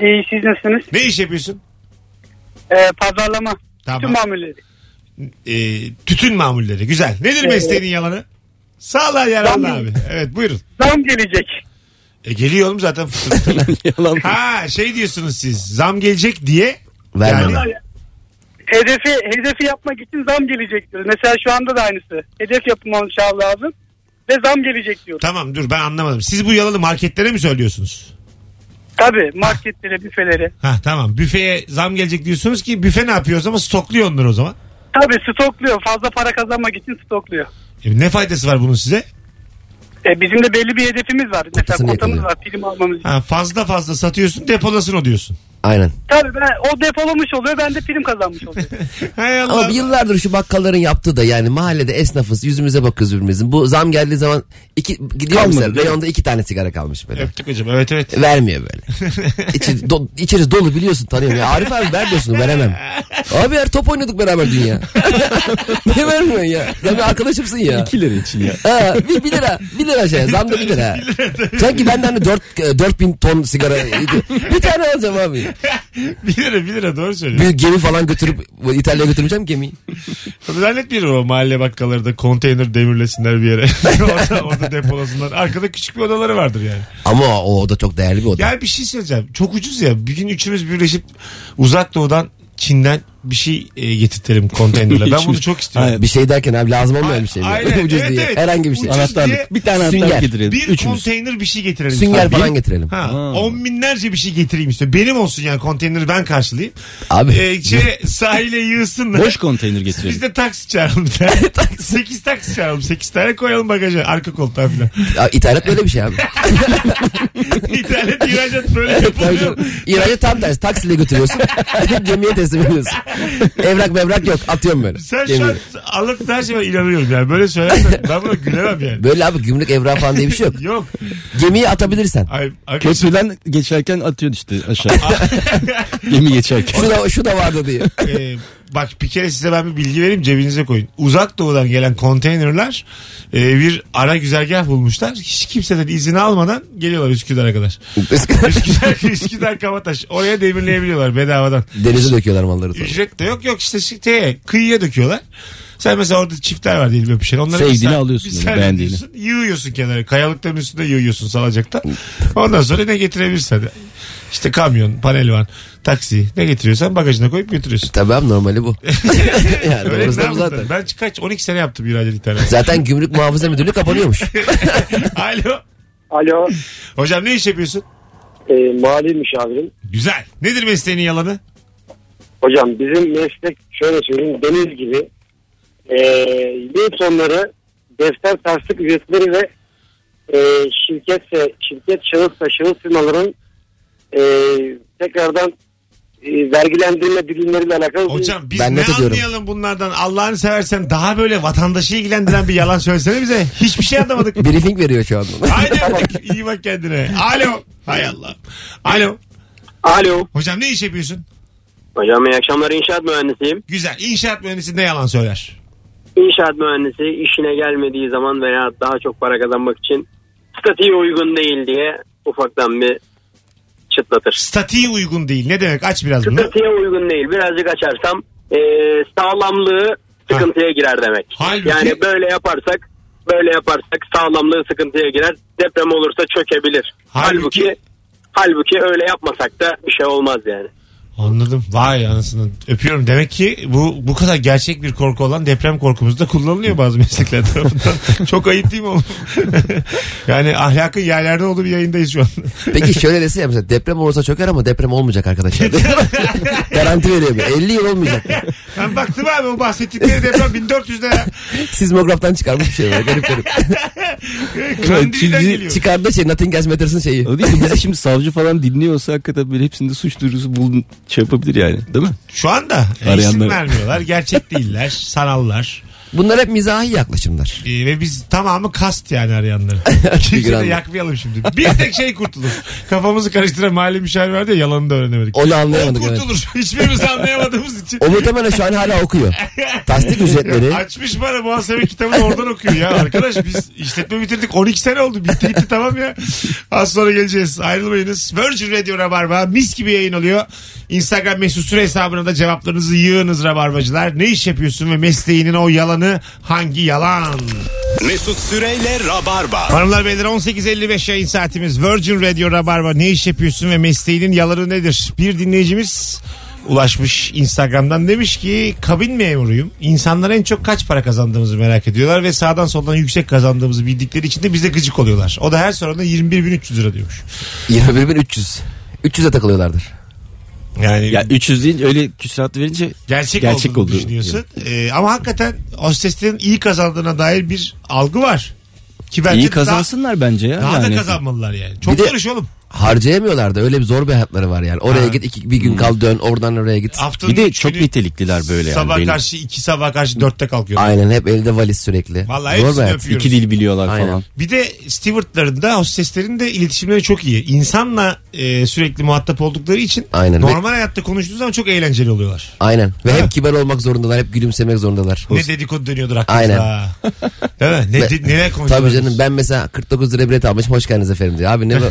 Speaker 13: İyi siz nasılsınız?
Speaker 2: Ne iş yapıyorsun?
Speaker 13: Ee, pazarlama.
Speaker 2: Tamam.
Speaker 13: Tüm mamulleri.
Speaker 2: Ee, tütün mamulleri. Güzel. Nedir mesleğinin yalanı? Sağla yaralı
Speaker 13: Zam-
Speaker 2: abi. Evet buyurun.
Speaker 13: Zam gelecek.
Speaker 2: E, geliyor oğlum zaten fısır fısır.
Speaker 7: Yalan.
Speaker 2: ha şey diyorsunuz siz. Zam gelecek diye.
Speaker 3: Vermeme.
Speaker 13: Hedefi hedefi yapmak için zam gelecek diyoruz. Mesela şu anda da aynısı. Hedef yapılmalı şahı lazım ve zam gelecek diyoruz.
Speaker 2: Tamam dur ben anlamadım. Siz bu yalanı marketlere mi söylüyorsunuz?
Speaker 13: Tabii marketlere, büfelere.
Speaker 2: Ha tamam büfeye zam gelecek diyorsunuz ki büfe ne yapıyor o zaman stokluyor onları o zaman.
Speaker 13: Tabii stokluyor. Fazla para kazanmak için stokluyor.
Speaker 2: E, ne faydası var bunun size?
Speaker 13: Ee, bizim de belli bir hedefimiz var. Mesela
Speaker 3: Kotasını
Speaker 13: kotamız
Speaker 3: yakalıyor.
Speaker 13: var. Prim almamız için.
Speaker 2: Ha, fazla fazla satıyorsun depolasın o diyorsun.
Speaker 3: Aynen.
Speaker 13: Tabii ben, o depolamış oluyor. Ben de prim kazanmış oluyorum.
Speaker 2: Hay Allah.
Speaker 3: Ama bir yıllardır şu bakkalların yaptığı da yani mahallede esnafız yüzümüze bakıyoruz birbirimizin. Bu zam geldiği zaman iki, gidiyor
Speaker 7: Kalmadı,
Speaker 3: mesela
Speaker 7: değil mi?
Speaker 3: reyonda iki tane sigara kalmış böyle.
Speaker 2: Öptük hocam evet evet.
Speaker 3: Vermiyor böyle. İçi, do, içeriz dolu biliyorsun tanıyorum ya. Arif abi ver diyorsun veremem. Abi her top oynadık beraber dünya. ne vermiyorsun ya? Ya bir arkadaşımsın ya.
Speaker 7: 2 lira için ya.
Speaker 3: Ha, bir, bir lira. Bir lira şey. Zam da bir lira. Sanki benden hani dört, e, dört bin ton sigara. bir tane alacağım abi.
Speaker 2: 1 lira 1 lira doğru söylüyorsun.
Speaker 3: Büyük gemi falan götürüp İtalya'ya götürmeyeceğim gemiyi.
Speaker 2: Tabii Zannetmiyorum o mahalle bakkalları da konteyner demirlesinler bir yere. orada, orada depolasınlar. Arkada küçük bir odaları vardır yani.
Speaker 3: Ama o, o da çok değerli bir oda.
Speaker 2: Ya bir şey söyleyeceğim. Çok ucuz ya. Bir gün üçümüz birleşip uzak doğudan Çin'den bir şey e, getirtelim konteynerle. Ben bunu çok istiyorum.
Speaker 7: Hayır,
Speaker 3: Bir şey derken abi lazım olmayan bir şey. mi?
Speaker 2: Aynen.
Speaker 3: Ucuz
Speaker 2: Evet,
Speaker 3: değil.
Speaker 2: evet.
Speaker 3: Herhangi bir şey.
Speaker 2: Ucuz. diye
Speaker 7: Anahtarlık. Bir tane
Speaker 3: sünger.
Speaker 7: anahtarlık getirelim.
Speaker 2: Bir
Speaker 7: Üçümüz.
Speaker 2: konteyner bir şey getirelim.
Speaker 3: Sünger
Speaker 2: Ha,
Speaker 3: falan getirelim.
Speaker 2: Ha, on binlerce bir şey getireyim işte. Benim olsun yani konteyneri ben karşılayayım.
Speaker 3: Abi.
Speaker 2: Ee, şey, sahile yığsınlar.
Speaker 7: Boş konteyner getirelim.
Speaker 2: Biz de taksi çağıralım. 8 taksi çağıralım. 8 tane koyalım bagaja. Arka koltuğa falan.
Speaker 3: Ya, İthalat böyle bir şey abi.
Speaker 2: İthalat ihracat böyle
Speaker 3: Tabii
Speaker 2: yapılıyor.
Speaker 3: canım. İhracı tam tersi. Taksiyle götürüyorsun. Gemiye teslim ediyorsun. Evrak mevrak yok. Atıyorum böyle.
Speaker 2: Sen şu
Speaker 3: Gemiye.
Speaker 2: an anlattığın her şeye ben inanıyorum yani. Böyle söylersen ben buna gülemem yani.
Speaker 3: Böyle abi gümrük evrak falan diye bir şey yok.
Speaker 2: Yok.
Speaker 3: Gemiyi atabilirsen.
Speaker 2: Ay, ay-
Speaker 7: Köprüden geçerken atıyorsun işte aşağı. Gemi geçerken.
Speaker 3: Şu da, şu da vardı diye.
Speaker 2: e, bak bir kere size ben bir bilgi vereyim cebinize koyun. Uzak doğudan gelen konteynerler e, bir ara güzergah bulmuşlar. Hiç kimseden izin almadan geliyorlar Üsküdar'a kadar. Üsküdar, Üsküdar Kabataş. Oraya demirleyebiliyorlar bedavadan.
Speaker 3: Denize döküyorlar malları sonra.
Speaker 2: Ücret de yok yok işte şeye, kıyıya döküyorlar. Sen mesela orada çiftler var diyelim öpüşen. Onları bir
Speaker 7: Sevdiğini
Speaker 2: sen-
Speaker 7: alıyorsun
Speaker 2: bir
Speaker 7: yani,
Speaker 2: sen
Speaker 7: beğendiğini.
Speaker 2: alıyorsun, Yığıyorsun kenara. Kayalıkların üstünde yığıyorsun salacakta. Ondan sonra ne getirebilirsen. İşte kamyon, panelvan, taksi ne getiriyorsan bagajına koyup götürüyorsun.
Speaker 3: Tabii abi normali bu. yani
Speaker 2: Öyle
Speaker 3: doğrusu
Speaker 2: ne
Speaker 3: da bu
Speaker 2: yaptın?
Speaker 3: zaten.
Speaker 2: Ben kaç 12 sene yaptım ihracat internet.
Speaker 3: Zaten gümrük muhafaza müdürlüğü kapanıyormuş.
Speaker 2: Alo.
Speaker 9: Alo,
Speaker 2: Hocam ne iş yapıyorsun?
Speaker 9: e, mali müşavirim.
Speaker 2: Güzel. Nedir mesleğinin yalanı?
Speaker 9: Hocam bizim meslek şöyle söyleyeyim deniz gibi. E, yıl sonları defter tasdik ücretleri ve e, şirketse, şirket şahısla şahıs firmaların e, tekrardan e, vergilendirme dilimleriyle alakalı. bir-
Speaker 2: Hocam biz
Speaker 3: Ben
Speaker 2: ne
Speaker 3: net ediyorum.
Speaker 2: anlayalım bunlardan? Allah'ını seversen daha böyle vatandaşı ilgilendiren bir yalan söylesene bize. Hiçbir şey anlamadık.
Speaker 3: Briefing veriyor şu anda.
Speaker 2: Haydi artık. İyi bak kendine. Alo. Hay Allah. Alo.
Speaker 9: Alo.
Speaker 2: Hocam ne iş yapıyorsun?
Speaker 9: Hocam iyi akşamlar inşaat mühendisiyim.
Speaker 2: Güzel. İnşaat mühendisi ne yalan söyler?
Speaker 9: İnşaat mühendisi işine gelmediği zaman veya daha çok para kazanmak için statiğe uygun değil diye ufaktan bir çıtlatır.
Speaker 2: Statiği uygun değil. Ne demek? Aç biraz bunu.
Speaker 9: Statiğe uygun değil. Birazcık açarsam eee, sağlamlığı sıkıntıya girer demek.
Speaker 2: Halbuki-
Speaker 9: Yani böyle yaparsak böyle yaparsak sağlamlığı sıkıntıya girer. Deprem olursa çökebilir.
Speaker 2: Halbuki-
Speaker 9: Halbuki,
Speaker 14: Halbuki öyle yapmasak da bir şey olmaz yani.
Speaker 2: Anladım. Vay anasını. Öpüyorum. Demek ki bu bu kadar gerçek bir korku olan deprem korkumuzda kullanılıyor bazı meslekler tarafından. Çok ayıp değil mi oğlum? yani ahlakın yerlerde olduğu bir yayındayız şu an.
Speaker 3: Peki şöyle dese ya mesela deprem olursa çöker ama deprem olmayacak arkadaşlar. Garanti veriyor. bu. 50 yıl olmayacak.
Speaker 2: Ben baktım abi o bahsettikleri deprem 1400'de ya.
Speaker 3: Sismograftan çıkarmış bir şey var. Garip garip.
Speaker 2: Kandilden geliyor.
Speaker 3: Çıkardı şey Nothing Else Matters'ın şeyi.
Speaker 7: O değil de bizi şimdi savcı falan dinliyorsa hakikaten böyle hepsinde suç duyurusu bulun şey yapabilir yani değil mi?
Speaker 2: Şu anda e, isim
Speaker 7: Arayanlar-
Speaker 2: vermiyorlar. Gerçek değiller. Sanallar.
Speaker 3: Bunlar hep mizahi yaklaşımlar.
Speaker 2: Ee, ve biz tamamı kast yani arayanları. Kimse de
Speaker 3: Figüranlar.
Speaker 2: yakmayalım şimdi. Bir tek şey kurtulur. Kafamızı karıştıran mahalle müşavir vardı ya yalanını da öğrenemedik.
Speaker 3: Onu anlayamadık,
Speaker 2: O kurtulur. Hiçbirimiz anlayamadığımız için.
Speaker 3: O muhtemelen şu an hala okuyor. Tasdik ücretleri.
Speaker 2: Açmış bana muhasebe kitabını oradan okuyor ya. Arkadaş biz işletme bitirdik 12 sene oldu. Bitti gitti tamam ya. Az sonra geleceğiz. Ayrılmayınız. Virgin Radio Rabarba mis gibi yayın oluyor. Instagram mesut süre hesabına da cevaplarınızı yığınız Rabarbacılar. Ne iş yapıyorsun ve mesleğinin o yalanı hangi yalan?
Speaker 1: Mesut Süreyle Rabarba.
Speaker 2: Hanımlar beyler 18.55 yayın saatimiz Virgin Radio Rabarba ne iş yapıyorsun ve mesleğinin yalanı nedir? Bir dinleyicimiz ulaşmış Instagram'dan demiş ki kabin memuruyum. İnsanlar en çok kaç para kazandığımızı merak ediyorlar ve sağdan soldan yüksek kazandığımızı bildikleri için de bize gıcık oluyorlar. O da her sorunda 21.300 lira diyormuş.
Speaker 3: 21.300. 300'e takılıyorlardır.
Speaker 2: Yani
Speaker 7: Ya 300 deyince öyle küsuratlı verince
Speaker 2: gerçek,
Speaker 7: gerçek
Speaker 2: olduğunu
Speaker 7: oldu.
Speaker 2: düşünüyorsun. Ee, ama hakikaten hosteslerin iyi kazandığına dair bir algı var. Ki bence
Speaker 7: İyi kazansınlar bence ya.
Speaker 2: Daha, daha da
Speaker 7: yani.
Speaker 2: kazanmalılar yani. Çok
Speaker 3: Bir de-
Speaker 2: yarış oğlum.
Speaker 3: Harcayamıyorlar da öyle bir zor bir hayatları var yani. Oraya git iki, bir gün kal dön oradan oraya git.
Speaker 2: Hmm. Haftanın Bir de üç çok günü-
Speaker 7: nitelikliler böyle yani.
Speaker 2: sabah
Speaker 7: Benim-
Speaker 2: karşı iki sabah karşı dörtte kalkıyor.
Speaker 3: Aynen hep elde valiz sürekli.
Speaker 2: Vallahi
Speaker 3: zor bir
Speaker 2: hepsini
Speaker 3: hayat.
Speaker 2: öpüyoruz.
Speaker 7: İki dil biliyorlar
Speaker 3: Aynen.
Speaker 7: falan.
Speaker 2: Bir de stewardların da hosteslerin de iletişimleri çok iyi. İnsanla e, sürekli muhatap oldukları için
Speaker 3: Aynen.
Speaker 2: normal hayatta konuştuğu zaman çok eğlenceli oluyorlar.
Speaker 3: Aynen. Ve hep kibar olmak zorundalar. Hep gülümsemek zorundalar.
Speaker 2: Ne dedikodu dönüyordur
Speaker 3: Aynen.
Speaker 2: aklınızda. Değil mi? Ne,
Speaker 3: Ve-
Speaker 2: ne, neler konuşuyorlar?
Speaker 3: Tabii canım ben mesela 49 lira bilet almışım hoş geldiniz efendim diyor. Abi ne bu?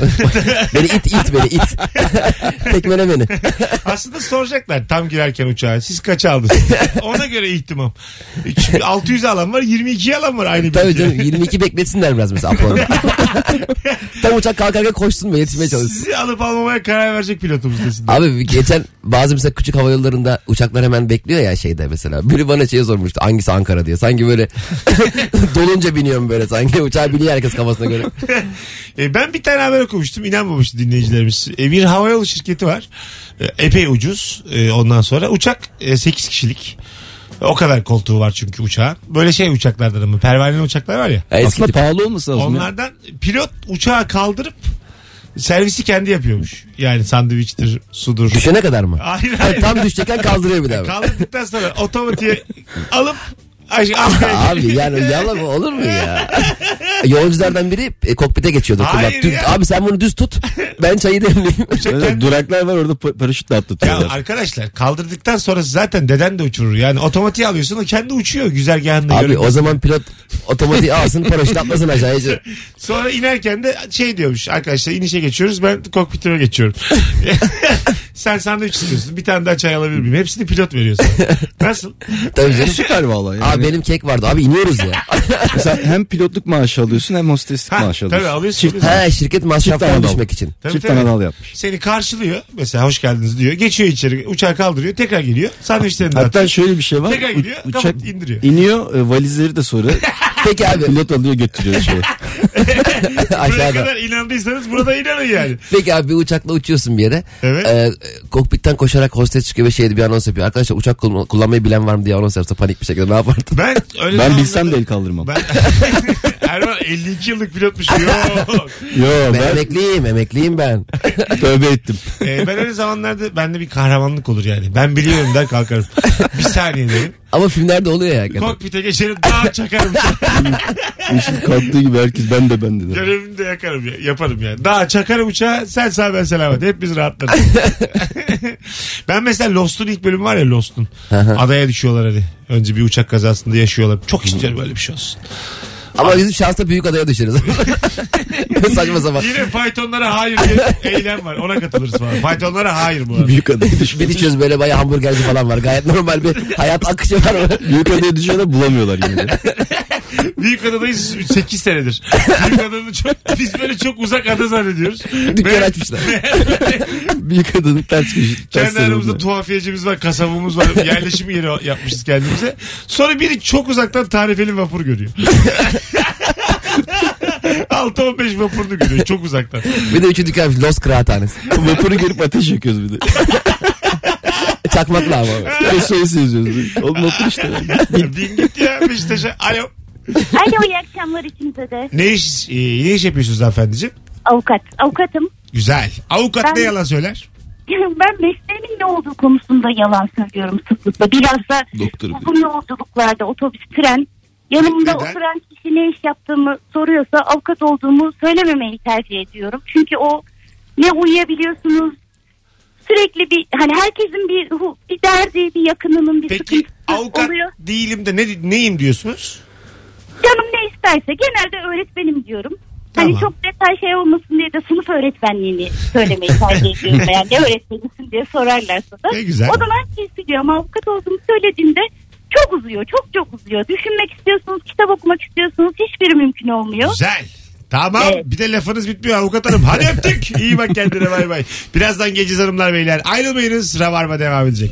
Speaker 3: beni it it beni it. Tekmele beni.
Speaker 2: Aslında soracaklar tam girerken uçağa. Siz kaç aldınız? Ona göre ihtimam. E, Çünkü 600 alan var 22 alan var aynı
Speaker 3: Tabii
Speaker 2: bilgiye.
Speaker 3: canım 22 bekletsinler biraz mesela Apollo. Tam uçak kalkarken koşsun ve yetişmeye çalışsın.
Speaker 2: Sizi alıp almamaya karar verecek pilotumuz desin.
Speaker 3: Abi geçen bazı mesela küçük hava yollarında uçaklar hemen bekliyor ya şeyde mesela. Biri bana şey sormuştu hangisi Ankara diye. Sanki böyle dolunca biniyorum böyle sanki. Uçağa biniyor herkes kafasına göre.
Speaker 2: E, ben bir tane haber okumuştum inanmamıştı dinleyicilerimiz. E, bir havayolu şirketi var. E, epey ucuz E, ondan sonra. Uçak 8 kişilik. E, O kadar koltuğu var çünkü uçağın. Böyle şey uçaklardan ama pervaneli uçaklar var ya.
Speaker 3: Ya eski
Speaker 7: Aslında
Speaker 3: tip.
Speaker 7: pahalı olmasa lazım. ya.
Speaker 2: Onlardan pilot uçağı kaldırıp servisi kendi yapıyormuş. Yani sandviçtir, sudur.
Speaker 3: Düşene kadar mı?
Speaker 2: Hayır hayır.
Speaker 3: Tam düşecekken kaldırıyor bir daha.
Speaker 2: Kaldırdıktan sonra otomatiğe alıp Ay, arkaya-
Speaker 3: Abi yani yalan mı olur mu ya? Yolculardan biri e, kokpite geçiyordu.
Speaker 2: Hayır
Speaker 3: Kulak. Dü-
Speaker 2: ya.
Speaker 3: Abi sen bunu düz tut. Ben çayı demleyeyim.
Speaker 7: Böyle Duraklar var orada pa- paraşütle
Speaker 2: Ya
Speaker 7: atlatıyorlar.
Speaker 2: arkadaşlar kaldırdıktan sonra zaten deden de uçurur. Yani otomatiğe alıyorsun o kendi uçuyor güzergahında.
Speaker 3: Abi
Speaker 2: Görün-
Speaker 3: o zaman pilot otomatik alsın paraşüt atmasın aşağıya.
Speaker 2: Sonra inerken de şey diyormuş arkadaşlar inişe geçiyoruz ben kokpitime geçiyorum. Sen sandviç istiyorsun bir tane daha çay alabilir miyim? Hepsini pilot veriyor sana. Nasıl?
Speaker 3: Tabii canım.
Speaker 7: Süper valla yani.
Speaker 3: Abi benim kek vardı. Abi iniyoruz ya.
Speaker 7: Mesela hem pilotluk maaşı alıyorsun hem hosteslik
Speaker 2: Ha,
Speaker 7: maaşı
Speaker 2: tabii
Speaker 7: alıyorsun.
Speaker 2: alıyorsun. alıyorsun.
Speaker 3: He şirket masraflarına
Speaker 7: Çift
Speaker 3: düşmek için.
Speaker 2: Tabii,
Speaker 7: Çift
Speaker 2: tabii.
Speaker 7: anadal yapmış.
Speaker 2: Seni karşılıyor mesela hoş geldiniz diyor. Geçiyor içeri uçağı kaldırıyor tekrar geliyor. Sandviçlerini
Speaker 7: Hatta
Speaker 2: dağıtıyor.
Speaker 7: şöyle bir şey var.
Speaker 2: Tekrar
Speaker 7: U-
Speaker 2: gidiyor,
Speaker 7: Uçak
Speaker 2: kapat, indiriyor.
Speaker 7: iniyor e, valizleri de sonra
Speaker 3: Peki abi
Speaker 7: pilot alıyor götürüyor şeye.
Speaker 2: Buraya
Speaker 3: aşağıda.
Speaker 2: kadar inandıysanız burada inanın yani.
Speaker 3: Peki abi bir uçakla uçuyorsun bir yere.
Speaker 2: Evet.
Speaker 3: Ee, kokpitten koşarak hostes çıkıyor ve şey bir anons yapıyor. Arkadaşlar uçak kullan- kullanmayı bilen var mı diye anons yapsa panik bir şekilde ne yapardın?
Speaker 2: Ben öyle
Speaker 7: Ben
Speaker 2: zamanlarda-
Speaker 7: bilsem de el kaldırmam.
Speaker 2: Ben... Erman 52 yıllık pilotmuş. Yok.
Speaker 7: Yo
Speaker 3: Ben,
Speaker 7: ben
Speaker 3: emekliyim emekliyim ben.
Speaker 7: tövbe ettim.
Speaker 2: Ee, ben öyle zamanlarda bende bir kahramanlık olur yani. Ben biliyorum der kalkarım. bir saniye derim.
Speaker 3: Ama filmlerde oluyor ya. hakikaten.
Speaker 2: Kokpite geçerim daha çakarım.
Speaker 7: Yeşil kalktığı gibi herkes ben de ben de. der.
Speaker 2: Görevimi de yakarım ya, yaparım yani. Daha çakarım uçağı sen sağ ben selamet. Hepimiz rahatlarız. ben mesela Lost'un ilk bölümü var ya Lost'un. Adaya düşüyorlar hadi. Önce bir uçak kazasında yaşıyorlar. Çok istiyorum böyle bir şey olsun.
Speaker 3: Ama bizim şansla büyük adaya düşeriz. Saçma sapan.
Speaker 2: Yine faytonlara hayır diye eylem var. Ona katılırız falan. Faytonlara hayır bu arada.
Speaker 7: Büyük adayı
Speaker 3: Bir
Speaker 7: düşmüş.
Speaker 3: içiyoruz böyle bayağı hamburgerci falan var. Gayet normal bir hayat akışı var.
Speaker 7: Büyük adayı düşüyorlar bulamıyorlar yine de.
Speaker 2: Büyük adadayız 8 senedir. Büyük adanın çok, biz böyle çok uzak ada zannediyoruz.
Speaker 3: Dükkan açmışlar. Büyük adının ters köşesi.
Speaker 2: Kendi aramızda tuhafiyecimiz var, kasabımız var. Yerleşim yeri yapmışız kendimize. Sonra biri çok uzaktan tarifeli vapur görüyor. 6-15 vapurunu görüyor çok uzaktan.
Speaker 3: Bir de üçü dükkan Los Kıraathanesi.
Speaker 7: Vapuru görüp ateş yakıyoruz bir de.
Speaker 3: Çakmakla ama.
Speaker 7: SOS yazıyoruz. Oğlum vapur işte.
Speaker 2: Bin git ya Beşiktaş'a. Alo.
Speaker 12: Alo iyi akşamlar ikinize de.
Speaker 2: Ne iş, e, ne iş yapıyorsunuz hanımefendiciğim?
Speaker 12: Avukat. Avukatım.
Speaker 2: Güzel. Avukat ne
Speaker 12: Ben-
Speaker 2: yalan söyler?
Speaker 12: Ben mesleğimin ne olduğu konusunda yalan söylüyorum sıklıkla. Biraz da uzun yolculuklarda otobüs, tren
Speaker 2: Neden?
Speaker 12: yanımda oturan kişi ne iş yaptığımı soruyorsa avukat olduğumu söylememeyi tercih ediyorum. Çünkü o ne uyuyabiliyorsunuz sürekli bir hani herkesin bir hu- bir derdi, bir yakınının bir
Speaker 2: Peki
Speaker 12: sıkıntısı
Speaker 2: avukat
Speaker 12: oluyor.
Speaker 2: değilim de ne, neyim diyorsunuz?
Speaker 12: Canım ne isterse genelde öğretmenim diyorum. Hani
Speaker 2: Tamam.
Speaker 12: çok detay şey olmasın diye de sınıf öğretmenliğini söylemeyi tercih ediyorum. Yani ne öğretmenisin diye sorarlarsa da.
Speaker 2: Ne güzel.
Speaker 12: O zaman kimse diyor ama avukat olduğumu söylediğinde çok uzuyor. Çok çok uzuyor. Düşünmek istiyorsunuz, kitap okumak istiyorsunuz. Hiçbiri mümkün olmuyor.
Speaker 2: Güzel. Tamam
Speaker 12: Evet.
Speaker 2: bir de lafınız bitmiyor avukat hanım. Hadi öptük. İyi bak kendine bay bay. Birazdan geleceğiz hanımlar beyler. Ayrılmayınız. Rabarba devam edecek.